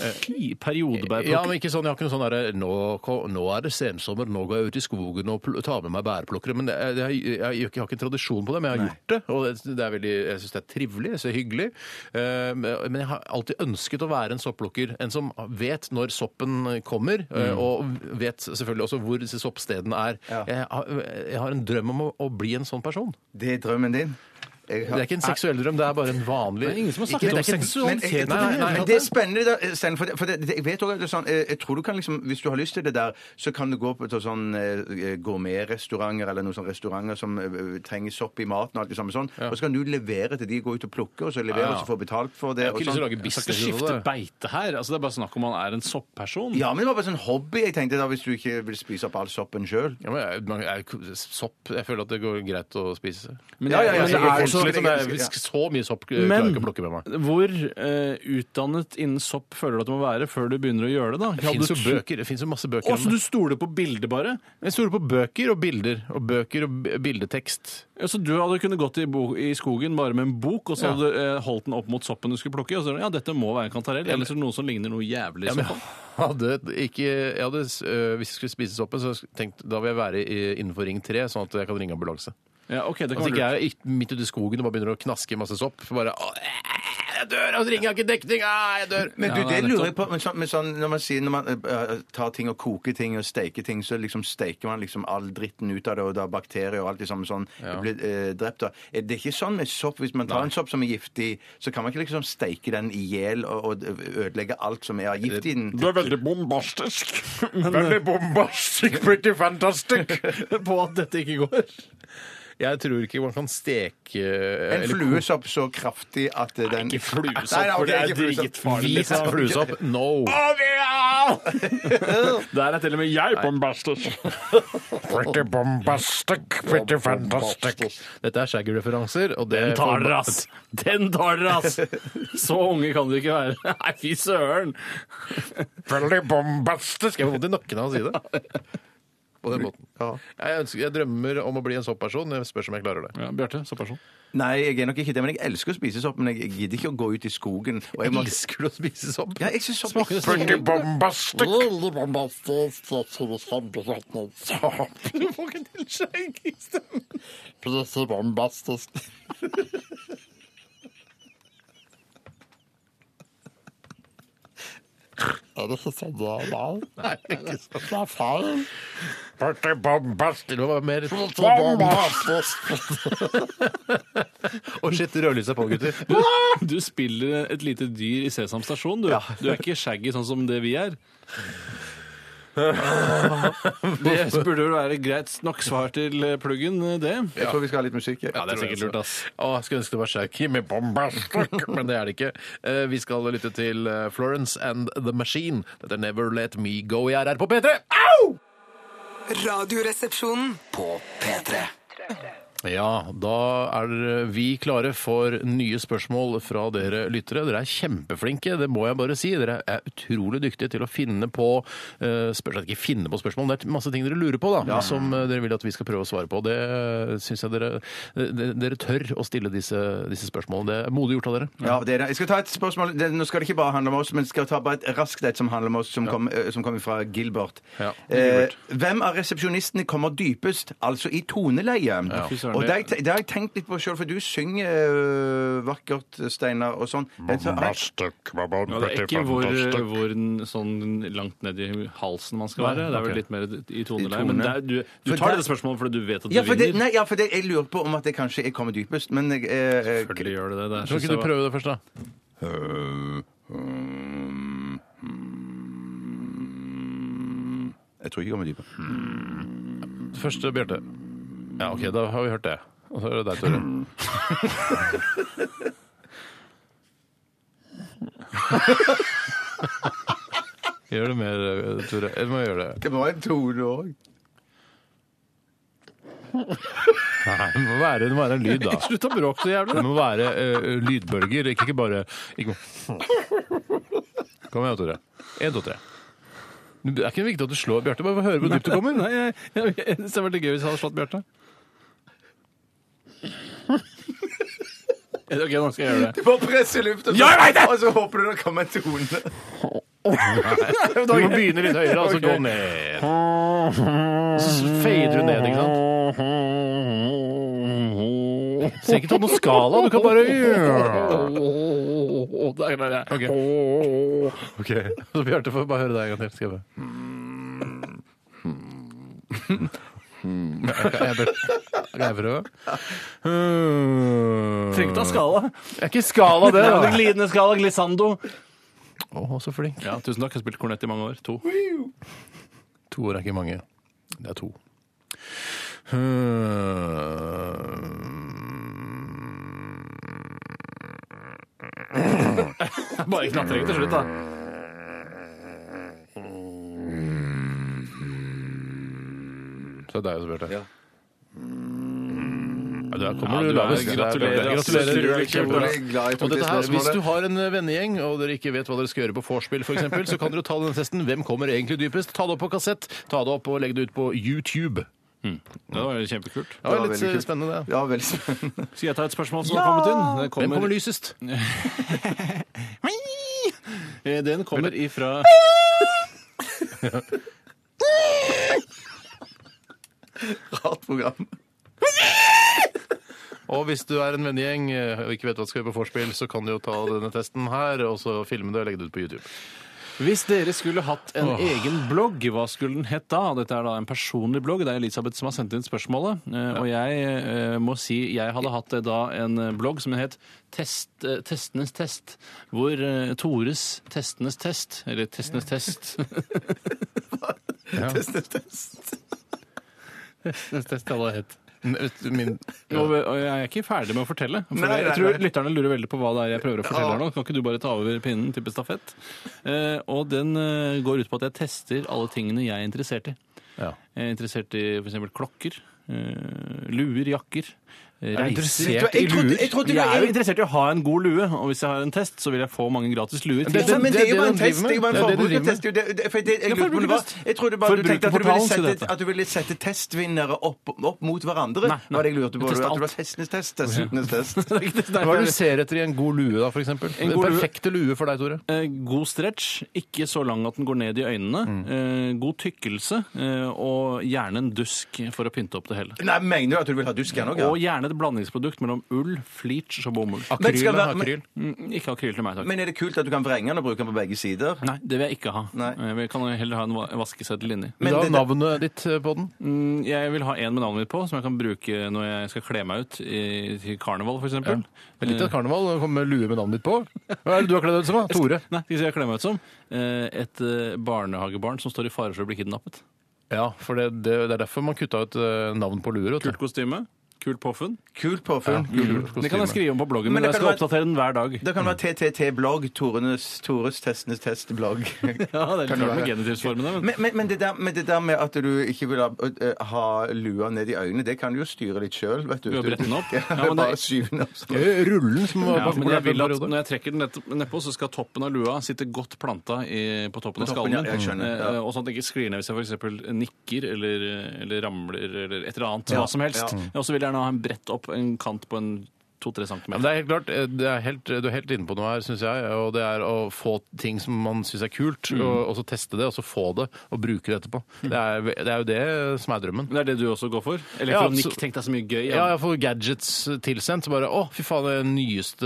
Eh, I Periodebærplukker.
Ja, men ikke sånn, Jeg har ikke noe sånn derre nå, ko- 'Nå er det sensommer, nå går jeg ut i skogen og pl- tar med meg bærplukkere'. Men det, er- det, er- jeg, jeg, har ikke tradisjon på det, men jeg har gjort det. Og det, det er veldig, jeg syns det er trivelig, jeg synes det er hyggelig. Eh, men jeg har alltid ønsket å være en sopplukker. En som vet når soppen kommer,
Mm.
eh, og vet selvfølgelig også hvor disse soppstedene er.
Ja.
Jeg, har, jeg har en drøm om å, å bli en sånn person.
Det er drømmen din. Jeg har-
Det er ikke en seksuell drøm, det er bare en vanlig
Det er ingen som har snakket
Ikke-
om
det er ikke- Men-
seksualitet i det
Nei, nei,
hele
nei,
Men
tatt.
det er spennende, da, Stein, for, det, for det, jeg vet også at det er sånn, eh, jeg tror du kan liksom, hvis du har lyst til det der, så kan du gå på til sånn eh, gourmetrestauranter eller noen sånne restauranter som eh, trenger sopp i maten og alt det samme sånn, og så kan du levere til de, gå ut og plukke, og så levere,
Ja.
og så få betalt for det.
Jeg har
og
ikke lyst til å lage
sånn.
Jeg skal
business
ikke
ut
skifte
av det.
beite her. Altså, det er bare snakk om man er en soppperson.
Ja, men det var bare sånn hobby jeg tenkte da, hvis du ikke vil spise opp all soppen sjøl.
Ja, men jeg, man- jeg, sopp Jeg føler at det går greit å spise.
Men,
Ja, ja,
men
ja,
er
så
det
folk
plutselig sånn
så
der,
ganske- ja.
hvis Så mye sopp eh, klarer
Men
jeg ikke å plukke med meg.
hvor eh, utdannet innen sopp føler du at du må være før du begynner å gjøre det? da?
Det
Hadde
fins jo
du-
bøker. Det finnes jo masse bøker.
Å,
om
så
det.
du stoler på bildet bare?
Jeg stoler på bøker og bilder. Og bøker og b- bildetekst.
Ja, så du hadde kunnet gått i, bo i skogen bare med en bok, og så
Ja.
hadde du eh, holdt den opp mot soppen du skulle plukke i, og så ja, dette må være en kantarell, eller så er det noe som ligner noe jævlig
Ja,
ja,
men jeg hadde ikke, jeg hadde, s- øh, hvis jeg skulle spise soppen, så tenkte, da vil jeg være i, innenfor Ring 3, sånn at jeg kan ringe ambulanse.
Ja, ok, det
At
kan være
Altså, ikke jeg
lurt.
er i- midt ute i skogen og bare begynner å knaske i masse sopp. for Bare, «Åh, eh, jeg dør! Og så ringer jeg ikke dekning! Ah, jeg dør!
Men du,
Ja,
det
nettopp.
lurer jeg på, men sånn, men sånn når man, sier, når man eh, eh, tar ting og koker ting og steker ting, så liksom steker man liksom all dritten ut av det, og da bakterier og alt det samme sånn blir eh, drept. Da. Er Det er ikke sånn med sopp. Hvis man tar en sopp som er giftig, så kan man ikke liksom steike den i hjel og, og ødelegge alt som er av gift i den.
er veldig bombastisk
Veldig bombastic, pretty fantastic eh, på at dette ikke går. Jeg tror ikke man kan steke eh,
En
Eh,
eller
fluesopp så kraftig at eh, den
Ikke fluesopp,
Nei, nei, ok,
for det er
ikke fluesopp.
dritfarlig.
Hvit fluesopp? No.
Der er til og med jeg bombastisk.
Pretty bombastic, pretty fantastic. Dette er Shaggy-referanser, og det
Den tar dere, ass! Den tar dere, ass! Så unge kan dere ikke være. Nei, fy søren!
Veldig bombastisk! Jeg får vondt i nakken av å si det. På den måten. Jeg, ønsker, jeg drømmer om å bli en soppperson. Jeg spørs om jeg klarer det.
Ja, Bjarte, så person.
Nei, jeg er nok ikke det, men jeg elsker å spise sopp, men jeg gidder ikke å gå ut i skogen. Og jeg må...
Elsker du å spise sopp?
Ja, jeg synes sopp er
Pretty bombastic!
Pretty
Du får ikke til Shaggy!
bombastisk. Er det ikke sånn det er? Nei,
Nei, det er ikke sånn.
det er feil.
Pretty bombastic! Det var mer
Pretty bombastisk.
Og shit, rødlyset er på, gutter.
Du, du spiller et lite dyr i Sesam stasjon, du. Du er ikke shaggy sånn som det vi er. Det burde vel være greit nok svar til pluggen, det.
Jeg tror vi skal ha litt musikk. jeg.
Ja, det er sikkert lurt,
ass.
Å, jeg skulle ønske det var Shaggy med bombastic, men det er det ikke. Eh, Vi skal lytte til eh, Florence and The Machine. Dette er Never Let Me Go i RR på P3. Au!
Radioresepsjonen.
På P3.
Ja, da er vi klare for nye spørsmål fra dere lyttere. Dere er kjempeflinke, det må jeg bare si. Dere er utrolig dyktige til å finne på eh, spørsmål. Ikke finne på spørsmål, men det er masse ting dere lurer på da, som eh, dere vil at vi skal prøve å svare på. Det eh, syns jeg dere, dere, dere tør å stille disse, disse spørsmålene. Det er modig gjort av dere.
Ja, det er det. Jeg skal ta et spørsmål. Det, nå skal det ikke bare handle om oss, men skal jeg ta bare et raskt et som handler om oss, som kom- eh, som kommer fra Gilbert.
Ja,
Eh, hvem av resepsjonistene kommer dypest, altså i toneleie?
Fy søren,
Og
det-
det, har jeg te- det har jeg tenkt litt på sjøl, for du synger eh, vakkert, Steinar, og sånn. Men så-
Ja, det er ikke hvor, hvor den- sånn langt ned i halsen man skal være. Det er vel litt mer i toneleie.
I
Men
tone.
det er, du, du
For
tar
der-
det spørsmålet fordi du vet at du
Ja, for det,
vinner.
nei, ja, for det, jeg lurer på om at jeg kanskje jeg kommer dypest, men jeg eh, eh,
Selvfølgelig gjør det det. det er
Kan
så
ikke du
søt.
prøve det først, da?
Jeg tror ikke jeg kommer dypest.
Først eh, Bjarte. Ja, OK, da har vi hørt det. Og så er det deg, Tore. Gjør det mer, eh, Tore. Eller må jeg gjøre det?
Det var en tone òg.
Nei, det må være, det må være en lyd, da. Slutt å bråke så jævlig. Det må være eh, lydbølger, ikke, ikke bare ikke... Kom igjen, Tore. Én, to, tre. Det er ikke viktig at du slår Bjarte, bare få høre hvor dypt du kommer.
Nei, jeg, jeg, jeg synes det hadde vært gøy hvis jeg hadde slått Bjarte. OK, nå skal jeg gjøre det.
Bare press i lufta,
Ja, jeg vet det!
og så håper du det kommer en tone.
Du må begynne litt høyere, og så gå ned. Så fader du ned, ikke sant? Du trenger ikke ta noen skala, du kan bare
Der klarer jeg.
Ok, ok. Så Bjarte får bare høre deg en gang til. Skal jeg bare
Hmm.
Kan jeg prøve? Kan jeg prøve?
Trenger ikke ta skala.
Det er ikke skala, det.
Det er
da.
det glidende skala, glissando.
Å, så flink.
Ja, tusen takk. Jeg har spilt kornett i mange år. To.
To år er ikke mange. Det er to. Hmm.
Bare knatring til slutt, da.
Så det er jo så Bjarte. Hmm. Ja. der kommer
Ja,
du
du er-
lavest.
gratulerer,
Gratulerer.
altså.
Gratulerer.
Kjempebra. Glad jeg tok
Og dette
det
her, hvis
spørsmålet.
du har en eh, vennegjeng og dere ikke vet hva dere skal gjøre på vorspiel, f.eks., så kan dere ta denne testen. Hvem kommer egentlig dypest? Ta det opp på kassett, ta det opp og legg det ut på YouTube.
Det var jo kjempekult.
Det var
var
litt
veldig
eh,
kult.
spennende, det.
Ja, veldig spennende.
Skal jeg ta et spørsmål som har kommet inn? Det
Hvem kommer lysest?
Eh, Den kommer ifra
Rart program.
Og hvis du er en vennegjeng eh, og ikke vet hva du skal gjøre på vorspiel, så kan du jo ta denne testen her, og så filme det og legge det ut på YouTube.
Hvis dere skulle hatt en egen blogg, hva skulle den hett da? Dette er da en personlig blogg. Det er Elisabeth som har sendt inn spørsmålet. Eh, Og jeg eh, må si jeg hadde hatt eh, da en eh, blogg som het test, eh, Testenes test. Hvor eh, Tores Testenes test, eller Testenes test
Test, test, test.
Testenes test hadde det hett.
Min,
Og, og jeg er ikke ferdig med å fortelle. For
Nei, nei,
jeg tror
nei.
Lytterne lurer veldig på hva det er jeg prøver å fortelle her nå. Kan ikke du bare ta over pinnen til bestafett? Eh, og den eh, går ut på at jeg tester alle tingene jeg er interessert i.
Ja.
Jeg er interessert i f.eks. klokker, eh, luer, jakker. eh,
Er du
Reiser.
interessert i luer?
Jeg er jo interessert i å ha en god lue, og hvis jeg har en test, så vil jeg få mange gratis luer. til
det-
Men,
den.
men det er jo
det
bare en
han driver
test.
med.
Det er jo bare en
Det er det du driver med.
forbrukertest. Det er jo det- det- for det- jeg
Ja,
lurte på om det var-
forbrukertest.
Jeg trodde bare du tenkte at du ville
Forbrukerportalen sier
sette,
dette.
at du ville sette testvinnere opp, opp mot hverandre.
Nei, nei.
Var det jeg lurte
Jeg
på. At
testet
det var
alt.
testenes test. Testenes test.
Det er ikke det- det er
Hva er
ikke-
det du ser etter i en god lue, da, for eksempel?
En
Den
god lue.
perfekte lue for deg, Tore.
Eh, God stretch, ikke så lang at den går ned i øynene. Eh, god tykkelse, eh, og gjerne en dusk for å pynte opp det hele.
Nei, mener du at du vil ha dusk igjen òg?
Og gjerne et blandingsprodukt mellom ull, fleach og bomull.
Men
Akryl.
skal
da,
det- men-
akryl.
Mm, Ikke akryl til meg, takk.
Men er det kult at du kan vrenge den og bruke den på begge sider?
Nei, det vil jeg ikke ha.
Nei.
Eh, Jeg kan heller ha en va- vaskeseddel inni.
Men
Men
da
det-
navnet ditt eh, på den?
Mm, Jeg vil ha en med navnet mitt på, som jeg kan bruke når jeg skal kle meg ut i, til karneval, f.eks. eksempel
Det er Litt av et karneval å komme med lue med navnet ditt på. Hva er det du har kledd deg ut som? da? Tore.
Nei, skal jeg kle meg ut som? Eh, Et eh, barnehagebarn som står i fare for å bli kidnappet.
Ja, for det, det, det er derfor man kutta ut eh, navn på luer. vet du.
Kult kostyme. Kult påfunn.
Kult påfunn. Kult.
Kult kostyme.
Det kan jeg skrive om på bloggen,
Men
men,
det
jeg
kan
skal
være-
oppdatere den hver dag.
Det kan være TTT-blogg. Tores, Tores testenes test-blogg.
Ja, det er
Kan
litt rart
det
med
være.
genitivsformene, men
Men, men, men, det der, men det der med at du ikke vil ha, eh, ha lua ned i øynene, det kan du jo styre litt sjøl, vet du.
Ved å brette den opp?
Ja,
Ja, men
bare
det-
skyve den opp. sånn.
Eh, Rullen som var
ja,
bak
men
bordet
jeg vil
for
at
en periode.
når jeg trekker den nett- nedpå, så skal toppen av lua sitte godt planta i, på toppen av
På
skallen
toppen, ja, jeg
min.
skjønner, ja.
Eh, Og sånn at det ikke sklir ned hvis jeg f.eks. nikker eller, eller ramler eller et eller annet.
Ja,
Hva som helst.
ja.
Og så vil jeg gjerne ha en brett opp, en kant på en to-tre
Ja, men det
centimeter.
er helt klart, eh, det er helt, Du er helt inne på noe her, syns jeg. og Det er å få ting som man syns er kult, og, og så teste det, og så få det, og bruke det etterpå. Det er, det er jo det som er drømmen.
Men det er det du også går for?
Ja,
Elektronikk,
absolutt.
tenk deg så mye gøy.
Ja, jeg får gadgets tilsendt. Så bare å, fy faen, det nyeste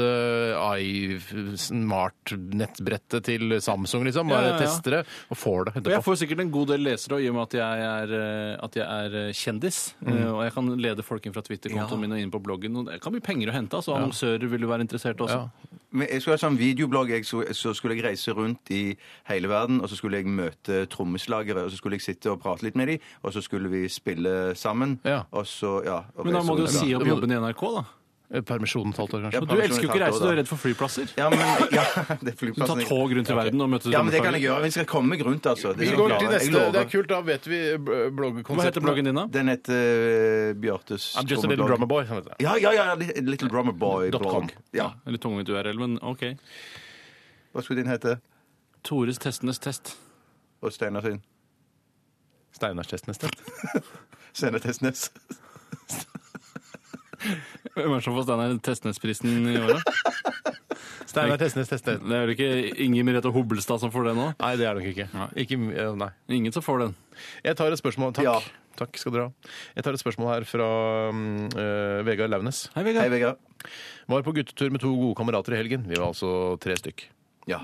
i-smart-nettbrettet til Samsung, liksom. Bare
Ja, ja, ja.
tester det, og får det.
Og jeg
etterpå.
får sikkert en god del lesere, og i og med at jeg er, eh, at jeg er eh, kjendis. eh, Og jeg kan lede folk inn fra Twitter-kontoen min og inn på bloggen. Og det kan bli penger å hente. altså Annonsører vil jo være interessert også.
Ja.
Men jeg skulle ha sånn videoblogg. Jeg skulle, så skulle jeg reise rundt i hele verden, og så skulle jeg møte trommeslagere, og så skulle jeg sitte og prate litt med dem, og så skulle vi spille sammen.
Ja.
Og så, ja. og
Men da
reise
må du
rundt.
si
Ja.
opp jobben i NRK, da.
Eh, Permisjonen et halvt år, kanskje.
Ja,
Du elsker jo ikke
Pensjon i
reise,
tatt
du
år,
er
da.
redd for flyplasser.
Ja, men ja, det er
Du tar
flyplassen.
tog rundt i verden og møter
Ja, men det kan jeg
fremmedfarger.
gjøre. Vi skal komme rundt, altså. Det
Vi
skal
går
klare.
til
Jeg
neste.
lover.
Det er kult, da vet vi eh, bl-
Hva heter
bloggkonseptet.
bloggen din, da?
Den heter eh, Bjartes
I'm just a little
trommeblogg.
drummer boy. som heter det.
Ja, ja, ja. li- Little Drummer
Dot com.
Boy-blogg. Ja.
Det er Litt tungvint URL, men OK.
Hva skulle din hete?
Tores testenes test.
Og Steinar sin?
Steinars test neste.
Steinar Testnes.
Hvem er det som får Steinar Testnesprisen i året?
Steinar Testnes tester.
Det er vel ikke Inger Merete Hobbelstad som får den nå?
Nei, det er det nok ikke. ikke eh, nei.
Ingen som får den.
Jeg tar et spørsmål. Takk.
Ja.
Takk skal dere ha. Jeg tar et spørsmål her fra mm, eh, Vegard Launes.
Hei,
Hei,
Vegard.
Vegard.
Var på guttetur med to gode kamerater i helgen. Vi var altså tre stykk.
Ja.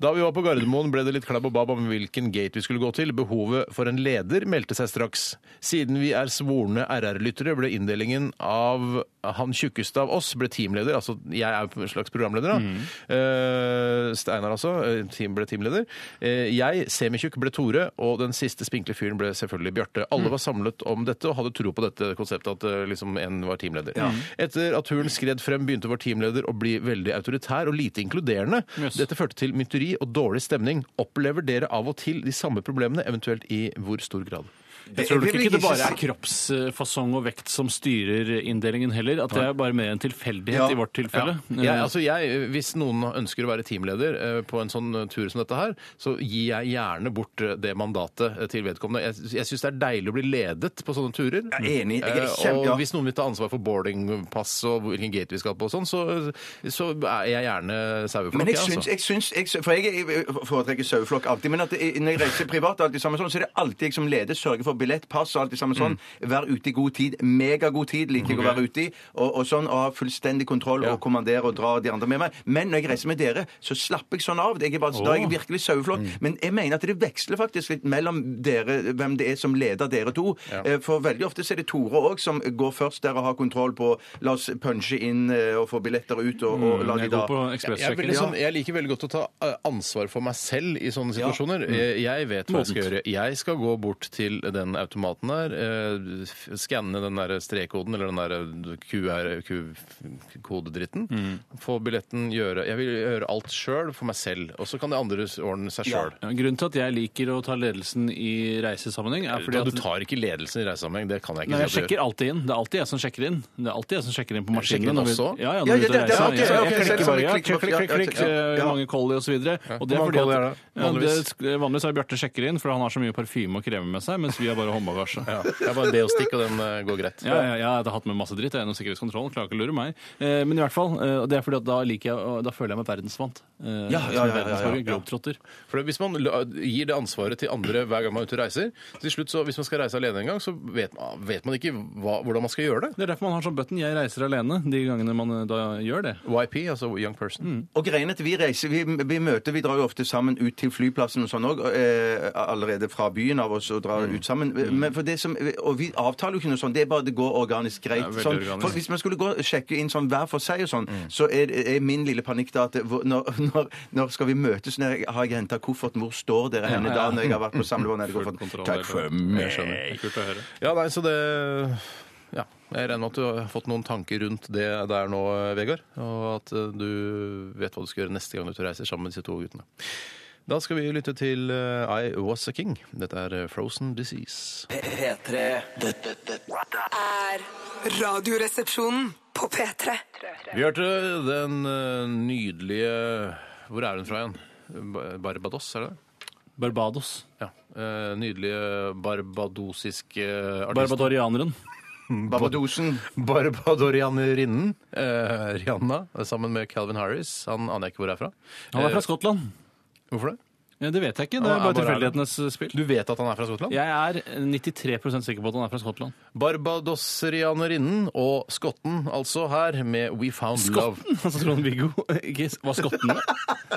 Da vi var på Gardermoen, ble det litt klabb og bab om hvilken gate vi skulle gå til. Behovet for en leder meldte seg straks. Siden vi er svorne RR-lyttere, ble inndelingen av han tjukkeste av oss ble teamleder. Altså, jeg er en slags programleder, da. Eh, Steinar, altså. eh, Team ble teamleder. Eh, jeg, semitjukk, ble Tore, og den siste spinkle fyren ble selvfølgelig Bjarte. Alle var samlet om dette og hadde tro på dette konseptet, at eh, liksom en var teamleder. Etter at turen skred frem, begynte vår teamleder å bli veldig autoritær og lite inkluderende.
Jøss.
Dette førte til mytteri og dårlig stemning. Opplever dere av og til de samme problemene, eventuelt i hvor stor grad?
Jeg tror
vil
nok ikke
jeg
det bare
si.
er kroppsfasong og vekt som styrer inndelingen heller. At det er bare mer en tilfeldighet
Ja.
i vårt tilfelle. Eh,
Jeg, altså jeg, hvis noen ønsker å være teamleder eh, på en sånn tur som dette her, så gir jeg gjerne bort eh, det mandatet eh, til vedkommende. Jeg, jeg syns det er deilig å bli ledet på sånne turer.
Jeg er enig. Jeg er
Eh,
kjempe- ja.
Og hvis noen vil ta ansvar for boardingpass og hvilken gate vi skal på og sånn, så, så er jeg gjerne saueflokk,
Men jeg
jeg, altså.
altså.
syns, jeg syns jeg, For jeg jeg foretrekker saueflokk alltid. Men at det, når jeg reiser privat, og alt det samme sånn, så er det alltid jeg som leder sørger for billett, pass og alt det samme sånn.
Mm.
Være ute i god tid. Megagod tid liker jeg å være ute i. Og, og sånn, og ha fullstendig kontroll og kommandere og dra de andre med meg. Men når jeg reiser med dere, så slapper jeg sånn av. Jeg er bare, Da er jeg virkelig
Mm.
saueflokk. Men jeg mener at det veksler faktisk litt mellom dere, hvem det er som leder dere to. Eh, For veldig ofte så er det Tore òg som går først der og har kontroll på La oss punche inn eh, og få billetter ut, og, og la
Mm, jeg
de
går på
da
Jeg, er
ekspressrekken.
veldig
liksom-
sånn, jeg liker veldig godt å ta eh, ansvar for meg selv i sånne situasjoner. Jeg, jeg vet hva jeg skal gjøre. Jeg skal gå bort til den automaten der, eh, f- skanne den der strekkoden eller den der QR Q-kodedritten, få billetten, gjøre Jeg vil gjøre alt sjøl for meg selv, og så kan det andre ordne seg sjøl.
Ja, grunnen til at jeg liker å ta ledelsen i reisesammenheng, er
Fordi
fordi at
du tar ikke ledelsen i reisesammenheng, det kan jeg ikke
Nei, jeg
si at du
sjekker alltid inn. Det er alltid jeg som sjekker inn. Det er alltid jeg som sjekker inn på
sjekker
maskinene.
inn
når vi-
også?
Ja, ja,
Ja,
når vi
ja,
ute og
det- det-
reiser.
ok,
Jeg-
så-
Jeg
ok,
klikker
så-
bare. ja,
klikk,
Klikk, klikk,
ja,
klikk, klikk.
ja, ja.
eh, Hvor mange kolli og så videre. Og det er
Hvor mange
fordi
kolli er
at
det?
ja,
Vanligvis.
det- Vanligvis er Bjarte sjekker inn, for han har så mye parfyme og kreme med seg, mens vi har bare håndbagasje.
gjør. Det er bare det å stikke, og den eh, går greit.
Ja, ja, jeg har hatt med masse dritt jeg, gjennom sikkerhetskontrollen. Klarer ikke å lure meg. Eh, Men i hvert fall, eh, og det er fordi at da, liker jeg, og da føler jeg meg verdensvant. Eh,
Ja, ja, ja, ja, ja, ja.
Verdensborger, Globetrotter.
For Hvis man la- gir det ansvaret til andre hver gang man er ute og reiser, så til slutt så, hvis man skal reise alene en gang, så vet man, vet man ikke hva, hvordan man skal gjøre det.
Det er derfor man har sånn button. Jeg reiser alene de gangene man eh, da gjør det.
YP, altså Young Person.
Og greien er at vi reiser, vi, vi møter, vi drar jo ofte sammen ut til flyplassen og sånn òg, eh, allerede fra byen av oss og drar
Mm.
ut sammen. Eh, Men for det som, og vi avtaler jo ikke noe sånt, det er bare det går organisk greit.
Ja, veldig
sånn.
organisk. Mm.
For hvis man skulle gå og sjekke inn sånn hver for seg og sånn, så er, er min lille panikk da at hvor- når, når, når skal vi møtes, når jeg, har jeg henta kofferten, hvor står dere henne da når jeg har vært på samlebånd? eller
Full
kofferten?
kontroll.
Takk for meg.
Jeg skjønner. Det er Kult å høre.
Ja, nei, så det ja. Jeg regner med at du har fått noen tanker rundt det der nå, Vegard. Og at eh, du vet hva du skal gjøre neste gang du er ute og reiser sammen med disse to guttene. Da skal vi lytte til eh, I Was A King. Dette er eh, Frozen Disease.
P3 Dette, dette
Er radioresepsjonen på P3.
Vi hørte den eh, nydelige Hvor er hun fra igjen? Ba- Barbados, er det det?
Barbados.
Ja. eh, Nydelige barbadosiske artist.
Barbadorianeren. Mm.
Barbadosen.
Barbadorianerinnen. eh, Rihanna sammen med Calvin Harris. Han aner jeg ikke hvor er fra.
Han er
Eh,
fra Skottland.
Hvorfor det?
Ja, det vet jeg ikke. Det
Han
er
er
bare
bare
tilfeldighetenes spill.
Du vet at han er fra Skottland?
Jeg er 93 sikker på at han er fra Skottland.
Barbadosrianerinnen og skotten altså her med We Found Love.
Altså Trond-Viggo ikke s- var skotten med?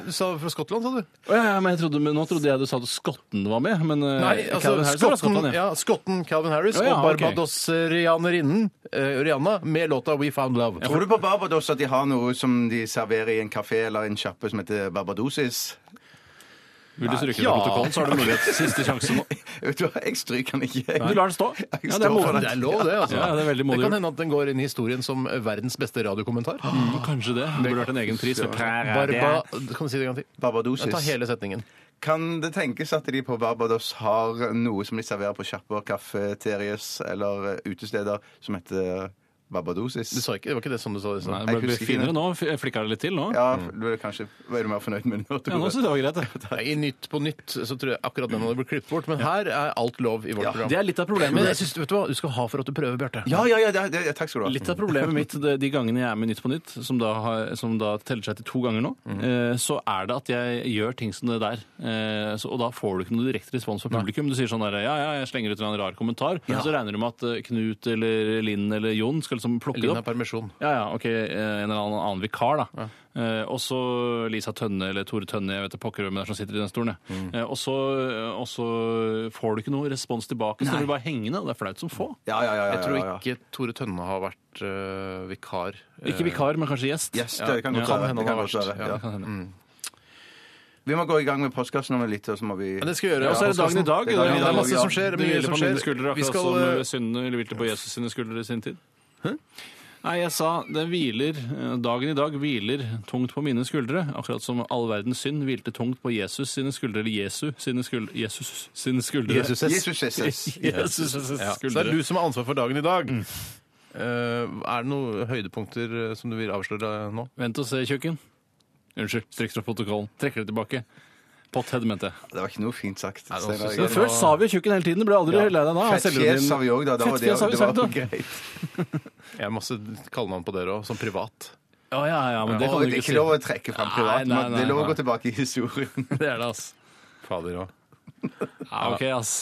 Du sa fra Skottland, sa du?
Å, ja, ja, men jeg trodde, men nå trodde jeg du sa at skotten var med. Men eh,
Nei, altså
Calvin Harris er fra
skotten,
Skottland, ja.
ja, skotten Calvin Harris
Ja, ja,
og
ok.
barbadosrianerinnen eh, Rihanna med låta We Found Love.
Tror du på Barbados at de har noe som de serverer i en kafé eller en kjappe som heter Barbadosis?
Vil du stryke det
Ja.
på protokollen, så har du mulighet. Siste sjanse nå.
Vet du hva, jeg stryker den ikke.
Du lar det stå.
Jeg
Ja, det
står
er
for
modig.
Det er lov, det. altså.
Ja, det er veldig modig
kan
gjort.
hende at den går inn i historien som verdens beste radiokommentar.
Mm, Kanskje det. Det burde vært en egen pris. vet du.
Barba... Kan du si det en gang til?
Barbadosis.
Ta hele setningen.
Kan det tenkes at de på Barbados har noe som de serverer på sjapper, kafeterias eller utesteder som heter Barbadosis?
Du sa ikke, det var ikke det sånn du sa det? i
Nei,
stad.
det
Jeg
ble
husker ikke
finere
det.
nå. F- Jeg flikka det litt til nå. Ja,
Ja, du er kanskje Er du mer fornøyd med det nå? Tore?
nå synes jeg det var greit. det.
Nei, I Nytt på nytt så tror jeg akkurat den hadde blitt klippet bort, men her er alt lov i vårt program.
Det er litt av problemet.
Men jeg synes, vet du hva, du skal ha for at du prøver, Bjarte.
ja, ja, ja, det, det, takk skal du ha.
Litt av problemet mitt det- de gangene jeg er med Nytt på Nytt, som da, har, som da teller seg til to ganger nå, eh, så er det at jeg gjør ting som det der. Eh, så, og da får du ikke noe direkte respons fra publikum. Du sier sånn der, ja, ja, jeg slenger ut en eller annen rar kommentar, og så regner du med at eh, Knut eller Linn eller Jon skal liksom plukke det
Linn har
opp.
permisjon.
Ja, ja, ok, eh, en eller annen, annen vikar da. Eh, og så Lisa Tønne eller Tore Tønne, jeg vet det pokker hvem det er som sitter i den stolen. jeg. Eh, og, så, og så får du ikke noe respons tilbake, så blir du bare hengende, og det er flaut som få.
Ja, ja, ja, ja,
Jeg tror
ja, ja.
ikke Tore Tønne har vært øh, vikar.
Ikke vikar, men kanskje gjest.
Yes, det kan godt
ja.
være.
hende han
Det kan
har
godt
vært,
være,
Ja,
ja.
det kan hende.
Vi må gå i gang med postkassen om litt, og så må vi
Men det skal vi gjøre.
Ja, og så er det dagen i dag.
Det er dagen i
det er
dag,
masse
ja.
som skjer.
Det
Mye
hviler
som
på mine
skjer.
skuldre,
Vi
akkurat
skal,
som
øh,
syndene hvilte på Jesus sine skuldre i sin tid. Nei, jeg sa det hviler, eh, dagen i dag hviler tungt på mine skuldre, akkurat som all verdens synd hvilte tungt på Jesus sine skuldre, eller Jesu sine skuldre, Jesus sine skuldre.
Jesus S. Jesus S.
Jesus
Ja.
sine
Så det er
skuldre. Mm.
du som har ansvar for dagen i dag. Eh, er det noen høydepunkter eh, som du vil avsløre nå?
Vent og se, tjukken. Unnskyld, strekk fra protokollen. Trekker det tilbake. Pothead, mente jeg.
Det var ikke noe fint sagt.
det var
Steinar.
så-
Jeg-
Før sa vi jo tjukken hele tiden, ble aldri lei deg da.
Fettfjes sa vi òg, da. da var det,
Fettfjes har vi
det var
sagt, da.
greit.
Jeg har masse kallenavn på dere òg, som privat.
Ja, ja, ja, men det
Det
kan du
er
ikke
ikke
si.
lov å trekke fram privat.
Nei, nei,
men Det er lov å
nei,
gå tilbake i historien.
Det er det, ass.
Fader òg.
Ja, ok, ass.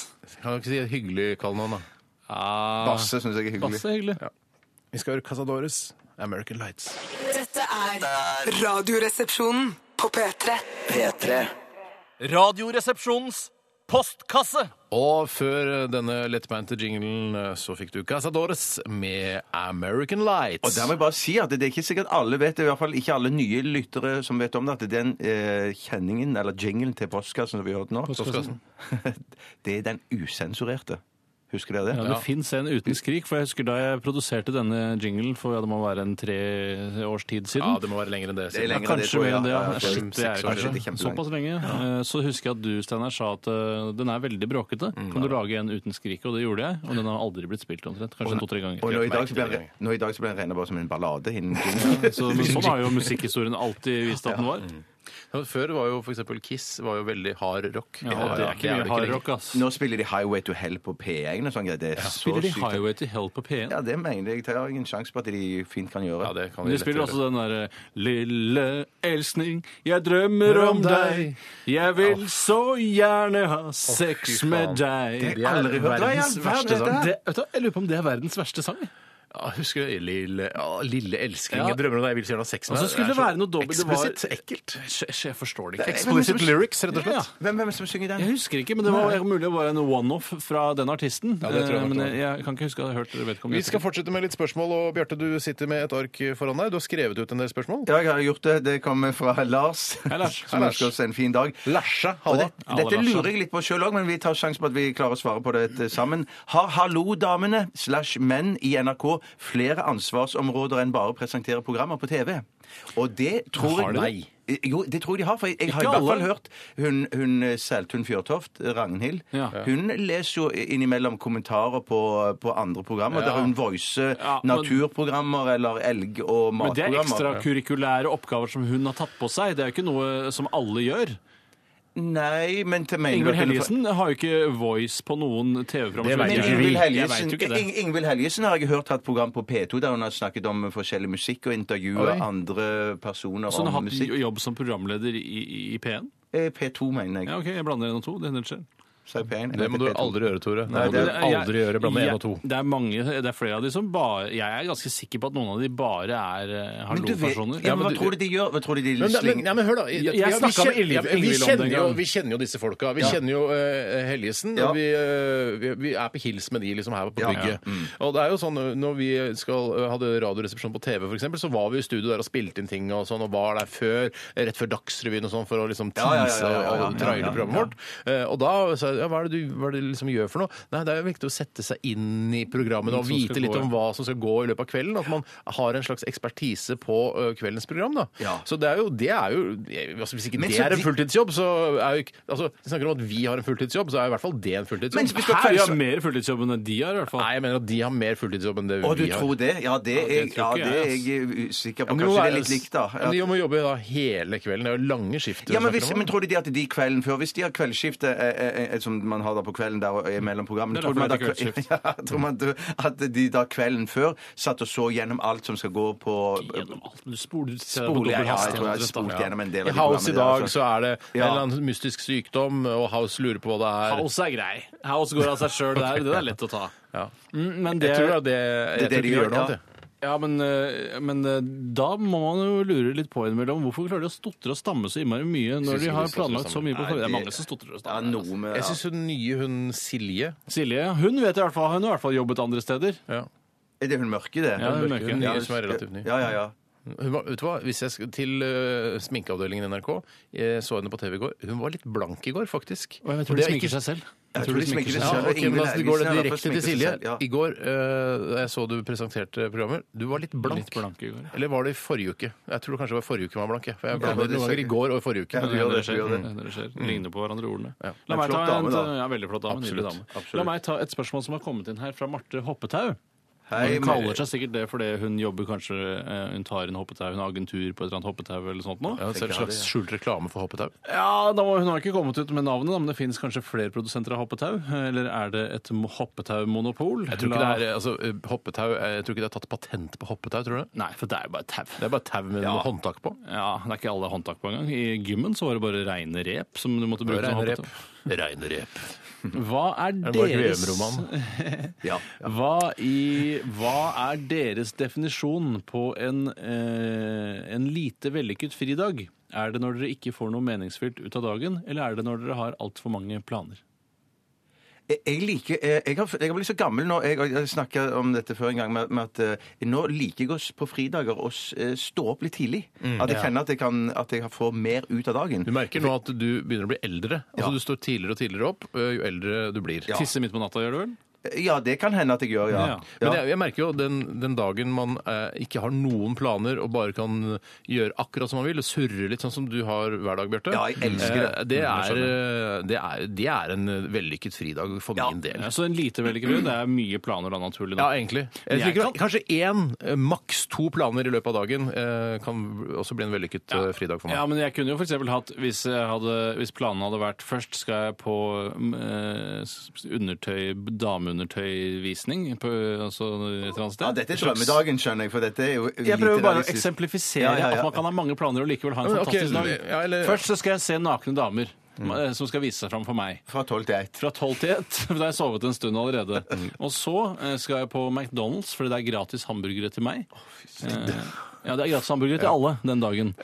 Kan du ikke si et hyggelig kallenavn, da?
Ja,
Basse syns jeg er hyggelig.
Basse, er hyggelig.
Vi skal høre Casadores, American Lights.
Dette er Radioresepsjonen på P3.
P3.
Radioresepsjonens postkasse.
Og før denne lettbeinte jinglen eh, så fikk du Casadores med American Lights.
Og der må jeg bare si at det er ikke sikkert alle vet det, i hvert fall ikke alle nye lyttere som vet om det, at den eh, kjenningen, eller jinglen til postkassen som vi har hørt nå,
Postkassen.
det er den usensurerte. Husker dere det?
Ja, det fins en uten skrik, for jeg husker da jeg produserte denne jinglen for ja, det må være en tre års tid siden.
Ja, det må være lenger enn det.
Det
sikkert.
er lenger enn det,
Kanskje
tror
mer
jeg.
enn det, ja.
Ja, ja,
Shit, det er
seks år
kanskje
siden, det er kjempelenge.
såpass lenge. Eh, Så husker jeg at du, Steinar, sa at eh, den er veldig bråkete. Kan du lage en uten skrik? Og det gjorde jeg, og den har aldri blitt spilt omtrent. Kanskje to-tre ganger.
Og nå i dag så ble
merkelig
den- nå i dag så ble den regna bare som en ballade. innen-
Så, men sånn har jo musikkhistorien alltid vist at den var.
Ja, Før var jo f.eks. Kiss var jo veldig hard rock.
Ja, det er ikke mye hardrock, ass.
Nå spiller de Highway to Hell på P1 og sånn greier. Det er så
Spiller de
sykt.
Highway to Hell på P1?
Ja, det mener jeg. Jeg har ingen sjanse på at de fint kan gjøre.
Ja, det kan
Men
vi
de spiller
lett
også
gjøre.
den derre Lille elskning, jeg drømmer om deg. Jeg vil så gjerne ha sex
fy faen.
med deg.
Det er aldri hørt. Hva i all
verdens
verden
verste
er
sang.
det?
Det, vet du, jeg lurer på om det er verdens verste sang.
Ja, husker du Lille, ja, lille elskling,
Ja.
jeg drømmer om deg, jeg vil så gjerne ha sex med
Og så
deg.
skulle det
er så
være noe dobbelt- det var-
Eksplisitt ekkelt.
Jeg, jeg forstår det ikke.
Explicit lyrics, rett og
Ja,
slett.
Hvem, hvem er det som synger den?
Jeg husker ikke, men det var mulig det var en one-off fra den artisten.
Ja, det tror jeg
Eh,
nok
men
det var.
jeg, jeg kan ikke huske å ha hørt
Vi
vedkommende.
skal fortsette med litt spørsmål, og Bjarte, du sitter med et ark foran deg. Du har skrevet ut en del spørsmål.
Ja, jeg har gjort det. Det kommer fra Lars,
Hei, Lars.
som
Hei,
ønsker
Lars.
oss en fin dag.
Larsa,
Og
halla.
det, dette
Larsen.
lurer jeg litt på sjøl òg, men vi tar sjansen på at vi klarer å svare på det eh, sammen. Har Hallo-damene slash menn i NRK flere ansvarsområder enn bare å presentere programmer på TV? Og det tror
Har
jeg
de
Nei. Jo, det tror jeg de har. For jeg, jeg har i
Ikke
hvert
alle.
fall hørt hun, hun eh, Seltun Fjørtoft, eh, Ragnhild,
Ja.
hun leser jo innimellom kommentarer på, på andre programmer,
Ja.
der hun voicer
Ja, men-
naturprogrammer eller elg- og
Men det er
matprogrammer.
ekstrakurrikulære oppgaver som hun har tatt på seg. Det er jo ikke noe som alle gjør.
Nei, men til mener du
Ingvild
at hun-
Helgesen har jo ikke voice på noen TV-program.
Det vet
som
Men
jeg
ikke
gjør.
Ingvild
Jeg
Helgesen,
vet jo ikke det.
Ing- Ingvild Helgesen har jeg hørt hatt program på P2 der hun har snakket om forskjellig musikk og intervjua
Oi.
andre personer
Så hun har
om
hatt
musikk.
jobb som programleder i, i, i P1?
Eh, P2, mener jeg.
Ja, ok, jeg blander en og to. Det hender skjer.
Sa jeg P1?
Det må du
P2.
aldri gjøre, Tore. Det
Nei,
må du
det-
aldri gjøre, blande én og to.
Det er mange, det er flere av de som bare Jeg er ganske sikker på at noen av de bare er eh,
Men du vet, ja,
hallo-personer.
men, hva tror du de gjør? Hva tror du de
Men, men,
slinger
ja, men hør, da.
Jeg- jeg
Ja, vi
snakket med
kjen-
Ingrid-
ja, men vi
Ingrid om
kjenner
den
jo-
gangen.
Vi kjenner jo disse folka. Vi kjenner jo eh, Helgesen,
Ja.
og vi, eh, vi, vi er på hils med de liksom her på
Ja.
bygget. Og det er jo sånn, eh, når vi skal, eh, hadde radioresepsjon på TV, for eksempel, så var vi i studio der og spilte inn ting og sånn, og var der før, rett før Dagsrevyen og sånn, for å liksom
Ja, ja, ja,
tease
ja, ja, ja.
og traile
Ja, ja,
programmet
ja.
vårt. Eh, Og da sa jeg, ja, hva er det du hva er det du liksom gjør for noe? Nei, det er jo viktig å sette seg inn i programmet og
Som skal
vite litt
gå,
om
ja.
hva som skal gå i løpet av kvelden. At man har en slags ekspertise på eh, kveldens program, da.
Ja.
Så det er jo, det er jo altså, Hvis ikke
Men
det
så
er en
de-
fulltidsjobb, så er jo ikke altså, Vi snakker om at vi har en fulltidsjobb, så er i hvert fall det en
Men
fulltidsjobb.
hvis du
Her
kvelds-
gjør jeg mer fulltidsjobb enn de har, i hvert fall.
Nei, jeg mener at de har mer fulltidsjobb enn det
Å, du
vi har.
tror det? Ja, det er, ja,
tror ikke
det er
jeg,
jeg eh, sikker
Ja,
på.
men de må
Kanskje det er
være-
litt likt, da.
Men de må jobbe da hele kvelden. Det er jo lange skifter.
Ja, men,
vi
hvis,
snakker om.
men tror du de at de kvelden før Hvis de har kveldsskifte eh, eh, eh, som man har da på kvelden der og er mellom programmene
Det er
Tror du man, da,
derfor det heter
ja, tror man da- at de da kvelden før satt og så gjennom alt som skal gå på
Gjennom alt. Du spoler,
Spole, ja, ja, jeg
hastighet,
tror jeg
rett
har
og slett,
spolt
da.
gjennom en del av
I
de
House i
programmene der,
dag
altså.
så er det
Ja.
en eller annen mystisk sykdom, og House lurer på hva det er.
House er grei. House går av seg sjøl der. Den er lett å ta.
Ja.
Mm, men det,
Jeg tror da det, jeg
det
tror
de
ikke vi
gjør,
gjør noe
ja.
annet. jeg.
Ja, men, eh, men eh, da må man jo lure litt på innimellom. Hvorfor klarer de å stotre og stamme så innmari mye
Synes
når
ikke
de
de
har
stotrer og
planlagt så
stammer.
mye på forhånd? Det er
Nei,
mange som stotrer og
Ja,
stammer.
noe med
Jeg syns hun nye, hun Silje
Silje hun vet i hvert fall, hun har i hvert fall jobbet andre steder.
Er det hun mørke, det?
Ja, hun
Hun
mørke.
nye som er relativt ny.
Ja, ja, ja.
Hun var, vet du hva, hvis jeg skal til eh, sminkeavdelingen i NRK, jeg så henne på TV i går, hun var litt blank i går, faktisk.
Jeg tror
Og det
de
er
sminker
ikke-
seg selv.
Jeg tror de sminker seg
Ja,
selv.
ok, men
Ingrid
altså, det går det
Eriksen har i hvert
direkte
fall
til
sminket seg
Silje.
selv, ja.
I går, eh, da jeg så du presenterte programmer, du var litt blank.
Litt blank i går, ja.
Eller var det i forrige uke? Jeg tror kanskje det var forrige uke man var blank. jeg, For jeg
det
blander
er
noen ganger i
sikkert.
går og i forrige uke.
Ja,
men
du gjør
det-
det, du gjør det.
Mm. Det skjer. Ligner på hverandre ordene. La meg
En
ta
flott
en,
dame, da.
ja, veldig flott dame. Nydelig
Absolutt,
dame. La meg ta et spørsmål som har kommet inn her fra Marte Hoppetau.
Hei,
hun
Marte.
kaller seg sikkert det fordi hun jobber kanskje eh, Hun tar en hoppetau, hun har agentur på et eller annet hoppetau eller sånt nå.
Ja, så er det en slags skjult reklame for hoppetau.
Ja, da må, Hun har ikke kommet ut med navnet, da, men det fins kanskje flere produsenter av hoppetau? Eller er det et mo- hoppetaumonopol?
Jeg tror ikke det er, altså, eh, hoppetau, eh, jeg tror ikke det er tatt patent på hoppetau, tror du? det?
Nei, for det er jo bare tau.
Det er bare tau med noe håndtak på.
Ja, Det er ikke alle håndtak på engang. I gymmen så var det bare reine rep som du måtte bruke. som
Reine rep.
hoppetau.
Reine rep.
Hva er
Er det Mark
deres
Veum-roman?
Ja.
Hva, i, hva er deres definisjon på en, eh, en lite vellykket fridag? Er det når dere ikke får noe meningsfylt ut av dagen, eller er det når dere har altfor mange planer?
Jeg, jeg liker, eh, jeg, har, jeg har blitt så gammel nå, jeg, og jeg snakket om dette før en gang, med, med at eh, nå liker jeg oss på fridager å s- eh, stå opp litt tidlig.
Mm.
At jeg kjenner at jeg, kan, at jeg får mer ut av dagen.
Du merker nå at du begynner å bli eldre. Altså, Du står tidligere og tidligere opp eh, jo eldre du blir.
Ja.
Tisse midt på natta, gjør du vel?
Ja, det kan hende at jeg gjør, ja.
Mm. Ja.
ja.
Men jeg, jeg merker jo den, den dagen man eh, ikke har noen planer og bare kan gjøre akkurat som man vil, og surre litt sånn som du har hver dag, Bjarte.
Ja, jeg elsker det.
Eh, det,
Mm,
er, eh, det, er, det er en vellykket fridag for min del.
Ja, så altså en lite vellykket fridag, det er mye planer da, naturlig
Ja,
nok.
egentlig. Jeg
Jeg
tenker, Kanskje én, eh, maks to planer i løpet av dagen eh, kan også bli en vellykket eh, fridag for meg.
Ja, men jeg kunne jo for eksempel hatt, hvis, jeg hadde, hvis planen hadde vært først skal jeg på mm, eh, s- undertøy, dameundertøyvisning på altså, et eller annet sted.
Ja, dette er drømmedagen, skjønner jeg, for dette er jo
Jeg prøver bare å eksemplifisere
Ja, ja, ja.
at man kan ha mange planer og likevel ha en
Ja, men ok,
fantastisk dag.
ja, eller-
Først så skal jeg se nakne damer
Mm.
eh, som skal vise seg fram for meg.
Fra tolv til ett.
Fra tolv til ett. for Da har jeg sovet en stund allerede.
Mm.
Og så eh, skal jeg på McDonald's, fordi det er gratis hamburgere til meg. Eh, Ja, det er gratis hamburgere til alle den dagen.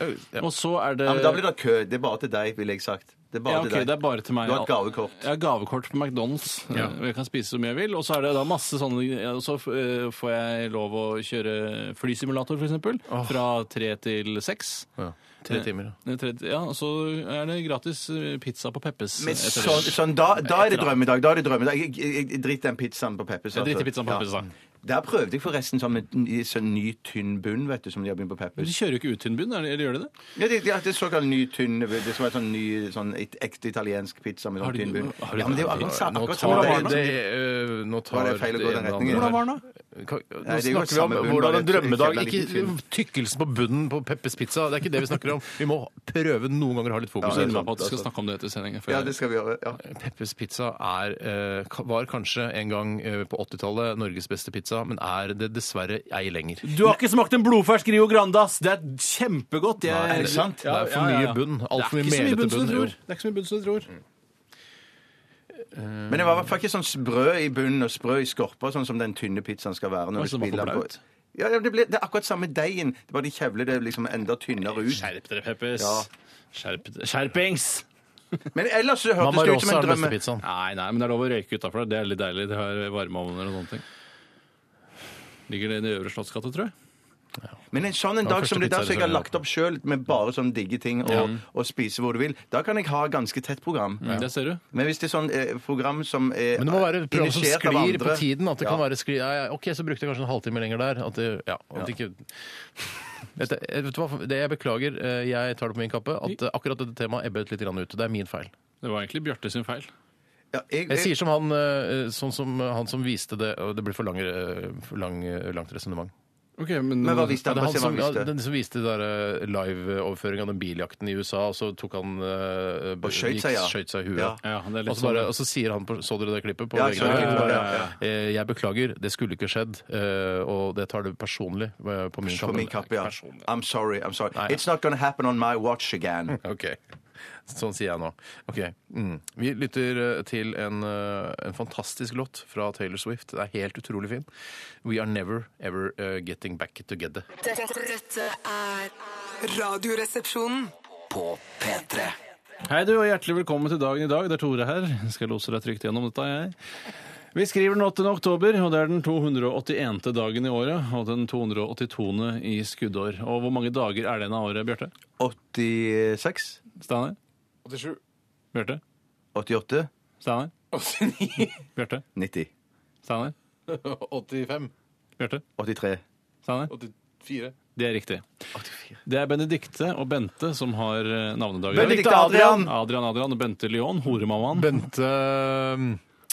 Og så er det
Ja, men da blir det kø. Det er bare til deg, ville jeg sagt. Det er bare
ja, ok,
til deg.
det er bare til meg.
Du har et gavekort.
Jeg har gavekort på McDonald's. og Jeg kan spise så mye jeg vil. Og så er det da masse sånne ja, og Så eh, får jeg lov å kjøre flysimulator, f.eks. Fra tre til seks.
Ja. Tre timer.
Eh, tre- Ja, og så er det gratis eh, pizza på Peppes.
Men
etter
sånn,
det.
sånn, da, da er det drømmedag. Da er det drømmedag. Jeg, jeg, jeg driter den pizzaen på Peppes.
Jeg driter
altså.
i pizzaen på Peppes, da.
Der prøvde jeg forresten sånn med en sånn ny, tynn bunn, vet du, som de har begynt på
Men
Peppes.
de kjører jo ikke ut tynn bunn, er det- eller gjør de det?
Ja, det, det, det er såkalt ny, tynn Det skal være sånn ny, sånn et ekte italiensk pizza med
Har
sånn
de-
tynn bunn.
har de-
Ja, men det er jo akkurat samme.
Nå
akkurat
tar
samme-
det, det, eh, nå tar
Var det feil å gå i den
ene
retningen?
andre.
Hvordan var
den da?
Ka- Nå
Nei,
snakker
det går
vi om
samme bunn,
hvordan
bare
en
et-
drømmedag
en liten
Ikke
film.
tykkelsen på bunnen på Peppers Pizza. Det er ikke det vi snakker om. Vi må prøve noen ganger å ha litt fokus.
Ja, det er
Innrømmer
sant,
på at vi
det er
skal
sant.
snakke om det etter sendingen. for
Ja,
jeg-
det skal vi gjøre. Ja.
Peppers Pizza er, eh, ka- var kanskje en gang eh, på 80-tallet Norges beste pizza, men er det dessverre ei lenger.
Du har ikke smakt en blodfersk Rio Grande, ass! Det er kjempegodt. Jeg...
er det sant?
Det er for mye bunn.
Det er
Altfor
ikke
mye
så mye bunn
melete
som
bunn.
du
jo.
tror. Det er ikke så mye bunn som du tror.
Men det var i hvert fall ikke sånn sprø i bunnen og sprø i skorpa, sånn som den tynne pizzaen skal være. når
Oi,
du
så det var
spiller
for
den på.
blaut.
Ja, ja, det, ble, det er akkurat samme deigen. Det bare de kjevler det liksom enda tynnere ut.
Skjerp dere, Peppes.
Ja.
Skjerp, skjerpings!
Men ellers så hørtes
Mamma
det ut som
Rosa
en
er den beste
drømme.
pizzaen.
Nei, nei, men det er lov å røyke utafor. Det er litt deilig. Det har varmeovner og sånne ting. Ligger det i Øvre Slottsgate, tror jeg?
Men en sånn en
Ja,
dag
første
som det der
pizza
som jeg har
er
lagt opp sjøl, med bare sånn digge ting og, og spise hvor du vil, da kan jeg ha ganske tett program.
Det ser du.
Men hvis det er sånn eh, program som er
Men det må være et program som
initiert av
sklir på
andre-
tiden. At det
Ja.
kan være skli, ja, ja, OK, så brukte jeg kanskje en halvtime lenger der. At det, ja, at det ikke Vet du- eh, Vet du hva, det jeg beklager, eh, jeg tar det på min kappe, at eh, akkurat dette temaet ebbet litt grann ut. Det er min feil.
Det var egentlig Bjarte sin feil.
Ja, jeg,
Jeg sier som han, eh, sånn som han som viste det og Det blir for, lang, eh, for lang, eh, langt resonnement.
men
Ja,
hva visste han?
det er
Bare
han
se hva
som,
han
ja,
visste.
den som viste det der, eh, live-overføring av den biljakten i USA, og så tok han eh, b-
skjøt
gikk-
seg, ja.
skjøt seg i huet.
Ja.
Ja, det er litt
og, så bare,
sånn-
og så sier han på, Så dere det klippet? På
Ja,
VG?
jeg så det klippet, ja, ja.
Eh, Jeg beklager, det skulle ikke skjedd, eh, og det tar det personlig eh, på min
På min kappe, ja.
Personlig.
I'm sorry, I'm sorry.
Nei, ja.
It's not gonna happen on my watch again.
Ok. Sånn sier jeg nå. Ok. Mm. Vi lytter eh, til en, eh, en fantastisk låt fra Taylor Swift. Det er helt utrolig fin. We are never ever eh, getting back together.
Dette, dette er Radioresepsjonen.
Hei du, og hjertelig velkommen til dagen i dag. Det er Tore her. Jeg skal lose deg trygt gjennom dette, jeg. Vi skriver den 8. oktober, og det er den 281. dagen i året. Og den 282. i skuddår. Og hvor mange dager er det igjen av året, Bjarte?
86?
Steinar?
87.
Bjarte?
88?
Steinar?
89.
Bjarte?
90?
Steinar?
85.
Bjarte?
83?
Steinar?
84.
Det er riktig. Det er Benedikte og Bente som har eh, navnedagen. i dag.
Benedikte Adrian!
Adrian Adrian og Bente Lyon, horemammaen.
Bente eh,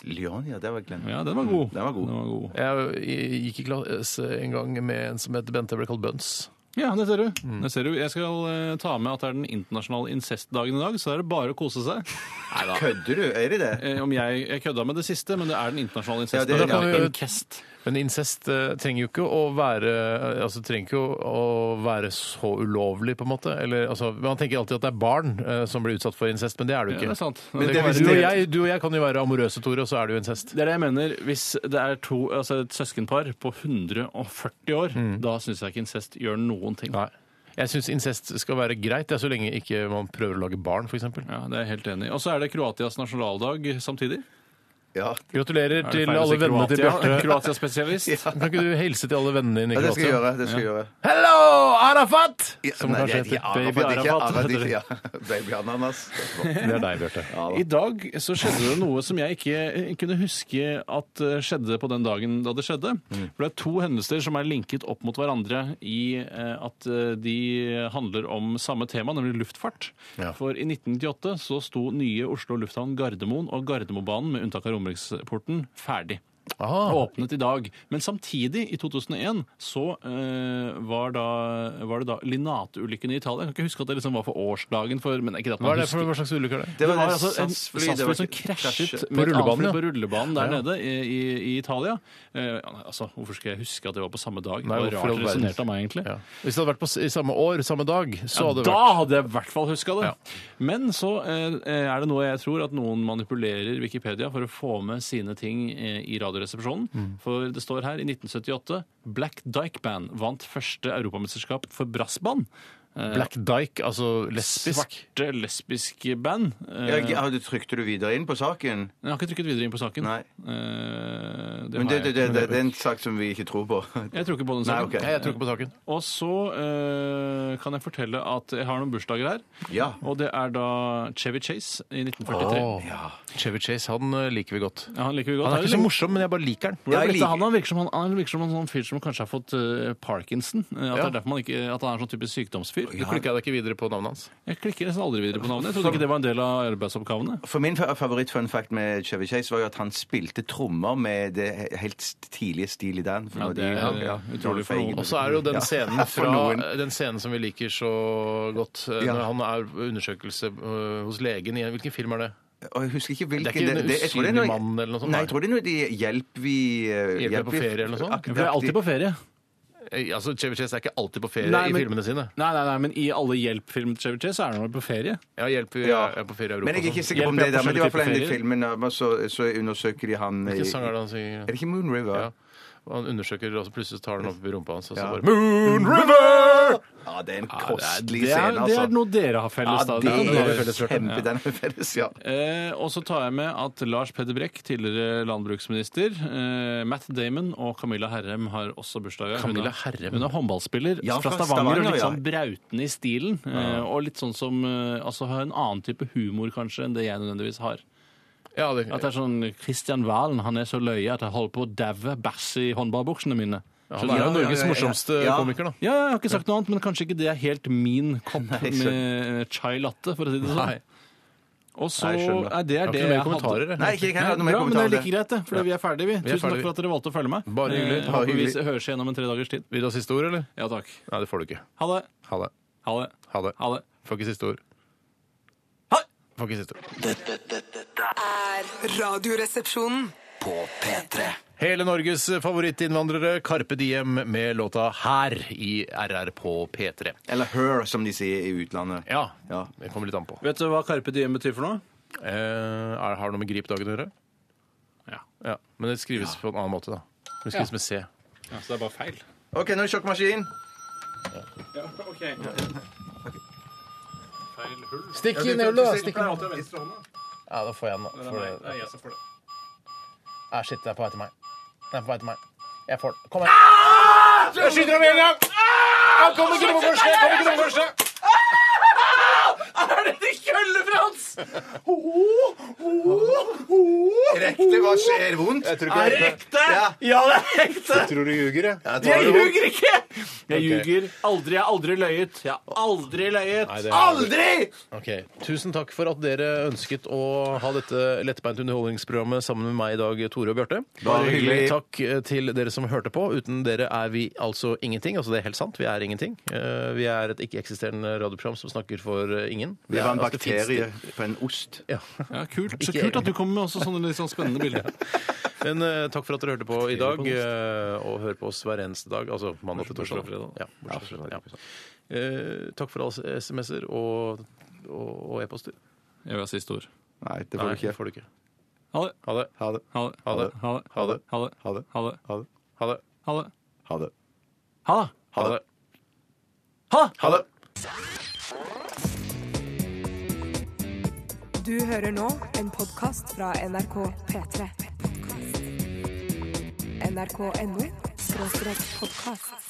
Lyon, ja, det var glemt.
Ja, den var god.
Den var god.
Den var god.
Jeg gikk i klasse en gang med en som het Bente, ble kalt Bøns.
Ja, det ser du.
Mm.
Det ser du. Jeg skal eh, ta med at det er den internasjonale incestdagen i dag, så er det bare å kose seg.
Kødder du? Er det det?
Eh, Om jeg, jeg kødda med det siste, men det er den internasjonale
Ja,
incestdagen.
det-
Ja,
ja.
Incest.
Men incest eh, trenger jo ikke å være altså trenger ikke å, å være så ulovlig, på en måte. Eller, altså, man tenker alltid at det er barn eh, som blir utsatt for incest, men det er det jo
Ja,
ikke.
det er sant.
Men det
det
kan
er
være- du, og
visst-
jeg, du og jeg kan jo være amorøse, Tore, og så er det jo incest.
Det er det jeg mener. Hvis det er to, altså et søskenpar på 140 år,
Mm.
da syns jeg ikke incest gjør noen ting.
Nei. Jeg syns incest skal være greit, det er så lenge ikke man prøver å lage barn, f.eks.
Ja, det er jeg helt enig i. Og så er det Kroatias nasjonaldag samtidig.
Ja.
Gratulerer
Er det
til
feil å
alle
si
vennene til
Kroatia?
Bjarte.
Kroatia-spesialist.
Kan ikke du hilse til alle vennene dine i
ja, det skal jeg
Kroatia?
gjøre. Det skal jeg gjøre.
Hello, Arafat!
Ja,
Som
nei,
kanskje
det er ikke
heter Baby
Arafat, ikke
Arafat.
Arafat, ikke- ja. Baby Ananas.
Det er deg, Bjarte.
I dag så skjedde det noe som jeg ikke eh, kunne huske at eh, skjedde på den dagen da det skjedde.
Mm.
For det er to hendelser som er linket opp mot hverandre i eh, at eh, de handler om samme tema, nemlig luftfart. For i 1998 så sto nye Oslo lufthavn Gardermoen og Gardermobanen med unntak av Romeriksporten ferdig.
Aha.
Åpnet i dag. Men samtidig, i 2001, så eh, var, da, var det da Linate-ulykken i Italia. Jeg kan ikke huske at det liksom var for årsdagen for Men ikke at
Hva
man
er det
husker
for hva slags ulykke er det?
det var,
det
altså en
SAS-fly,
SAS-fly
det var
som
ikke-
krasjet
krasjet
på
med et annet
rullebanen,
fly
ja.
på rullebanen der
Ja, ja.
nede i, i, i Italia. Eh, altså, hvorfor skal jeg huske at det var på samme
Nei,
dag? det var
hvorfor i all
rart
verden?
resonnert av meg, egentlig.
Ja. Hvis det hadde vært på, s- i samme år, samme dag, så hadde det
da
vært
hadde jeg i hvert fall huska det! Men så eh, er det noe jeg tror at noen manipulerer Wikipedia for å få med sine ting eh, i Radioresepsjonen.
Mm.
For det står her i 1978 Black Dyke Band vant første europamesterskap for brassband. Eh,
Black Dyke, altså lesbisk.
Svarte lesbiske band. Eh,
Ja, ja, du trykte du videre inn på saken?
Jeg har ikke trykket videre inn på saken.
Nei.
Eh, det
Men
har
det, det,
jeg.
det, det, det er en sak som vi ikke tror på.
Jeg tror ikke på den
Nei,
saken.
ok.
Nei, jeg tror ikke på saken.
Og så eh, kan jeg fortelle at jeg har noen bursdager her.
Ja.
Og det er da Chevy Chase i 1943.
Åh. Chevy Chase, han eh, liker vi godt.
Ja, han liker vi godt.
Han er ikke
Her,
så
eller?
morsom, men jeg bare liker han.
Hvordan er
Jeg
dette?
liker-
han, han virker som han, han virker som en sånn fyr som kanskje har fått eh, Parkinson. Eh, At, det
Ja.
er derfor man ikke, at han er sånn typisk sykdomsfyr.
Du klikka deg ikke videre på navnet hans?
Jeg klikker nesten aldri videre på navnet. Jeg trodde ikke det var en del av arbeidsoppgavene.
For min fa- favoritt-fun fact med Chevy Chase var jo at han spilte trommer med det he- helt s- tidlige Steely Dan.
Ja, det er utrolig for noen.
Og så er det jo den
Ja,
scenen,
for
fra,
noen.
den scenen som vi liker så godt, eh,
Ja.
når han er på undersøkelse eh, hos legen i Hvilken film er det?
Og jeg husker ikke hvilken
Det er ikke en
jeg tror det er noe-
usynlig mann eller noe sånt,
Nei,
nei.
jeg tror det er noe de hjelper vi
Hjelp meg på ferie eller noe sånt?
For jeg er alltid på ferie.
Eh, Altså, Chevy Chase er ikke alltid på ferie
Nei,
i
men-
filmene sine.
Nei, nei, nei, men i alle hjelp-filmer til Chevy Chase så er han vel på ferie.
Ja, hjelp, vi
Ja.
er på ferie i Europa.
Men jeg er ikke
og sånn.
sikker på om
Hjelper
det er der, men det er i hvert fall en
forskjellige
del
typer
filmer nærmere, så, så undersøker de han i-
Hvilken sang er det han synger?
Er det ikke Moon River?
Ja. Og han undersøker, og så plutselig tar den opp i rumpa hans, og så
Ja.
bare Moon River!
Ja, det er en
Ja, det er-
kostelig
det er-
scene, altså.
Det er noe dere har felles. da. noe
ja, det
dere har
er
felles, Bjarte.
kjempe, den er felles, ja.
Eh, og så tar jeg med at Lars Peder Brekk, tidligere landbruksminister, eh, Matt Damon og Camilla Herrem har også bursdag. i dag.
Camilla
Hun er-
Herrem?
Hun er håndballspiller
Ja,
fra
fra
Stavanger, og litt
Stavanger,
sånn brauten i stilen. Eh, og litt sånn som eh, altså har en annen type humor kanskje enn det jeg nødvendigvis har.
Ja, det,
At det er sånn Christian Valen, han er så løye at jeg holder på å daue bæsj i håndballbuksene mine.
han er jo
Ja, ja,
Norges
ja, ja.
morsomste
Ja.
komiker, da.
Ja, jeg har ikke sagt noe annet, men kanskje ikke det er helt min kopp
Nei, skjønner.
med chai latte, for å si det sånn.
Nei.
Og så
Nei, skjønner.
er det
Jeg
er
har ikke
det jeg
mer kommentarer.
hadde.
jeg.
Nei, ikke jeg heller. Noe
Nei, bra, men
mer
det
kommentar
er like
til det.
greit, det. For vi er ferdige, vi.
er
Tusen takk
ferdige,
for at dere valgte å følge meg.
Bare hyggelig.
Eh,
Bare
Håper vi
hyggelig.
høres igjen om en tre dagers tid.
Vil du ha siste ord, eller?
Ja takk.
Nei, det får du ikke.
Ha det.
Ha det.
Ha det.
Ha det.
Ha det.
Får ikke siste ord.
Ha det.
Får ikke siste ord.
Dette, dette, dette
Radioresepsjonen.
på P3
Hele Norges favorittinnvandrere, Carpe Diem med låta 'Her' i RR på P3.
Eller her, som de sier i utlandet.
Ja,
Ja.
det kommer litt an på.
Vet du hva Carpe Diem betyr for noe?
Eh, er, har det noe med gripdagen å gjøre?
Ja.
ja. Men det skrives på en annen måte, da. Det skrives med C.
ja så det er bare feil.
OK, nå er det sjokkmaskin.
Ja, ok. Feil hull.
Stikk i nøla!
Det er alltid venstre hånda.
Ja, da får jeg den, da. For det-
jeg som får det.
Ah, shit, det er på vei til meg. Det er på vei til meg. Jeg får den. Kom her. Ah! Jeg skyter ham med en gang! Han kom ikke på første! Kom ikke på første!
Rekte, hva skjer? Vondt?
Jeg tror ikke det er ekte.
Ja.
Ja, det er ekte!
Jeg tror du ljuger, jeg.
Jeg
Jeg
tar det vondt.
ljuger ikke! Jeg
Ok.
ljuger aldri. Jeg har aldri løyet. Jeg har aldri løyet.
Nei, det er-
Aldri!
Ok, Tusen takk for at dere ønsket å ha dette lettbeint underholdningsprogrammet sammen med meg i dag, Tore og Bjarte.
Bare hyggelig.
Takk eh, til dere som hørte på. Uten dere er vi altså ingenting. Altså, det er helt sant, vi er ingenting. Eh, Vi er et ikke-eksisterende radioprogram som snakker for eh, ingen. Vi
Det
er-
var en
altså, det finnes
bakterie på en ost.
ikke. Ja.
Ja, kult. Så
Ikke-
kult at du kommer med også sånne litt sånn spennende bilder.
Men eh, takk for at dere hørte på i dag, eh, og hør på oss hver eneste dag. Altså mandag til
Bortsett fra
torsdag.
fredag.
Ja, bortsett fra fredag. Ja. Eh, takk for alle SMS-er og, og, og e-poster.
Jeg vil ha siste ord.
Nei, det
Nei,
får du
det
ikke.
får du ikke.
Ha det.
Ha det.
Ha det.
Ha det.
Ha det.
Ha det.
Ha det.
Ha det.
Ha det.
Ha det.
Ha det.
Ha det.
Ha det. Ha
Ha det.
det.
Ha det.
Ha det.
Ha det.
Du hører nå en podkast fra NRK P3. NRK.no podkast.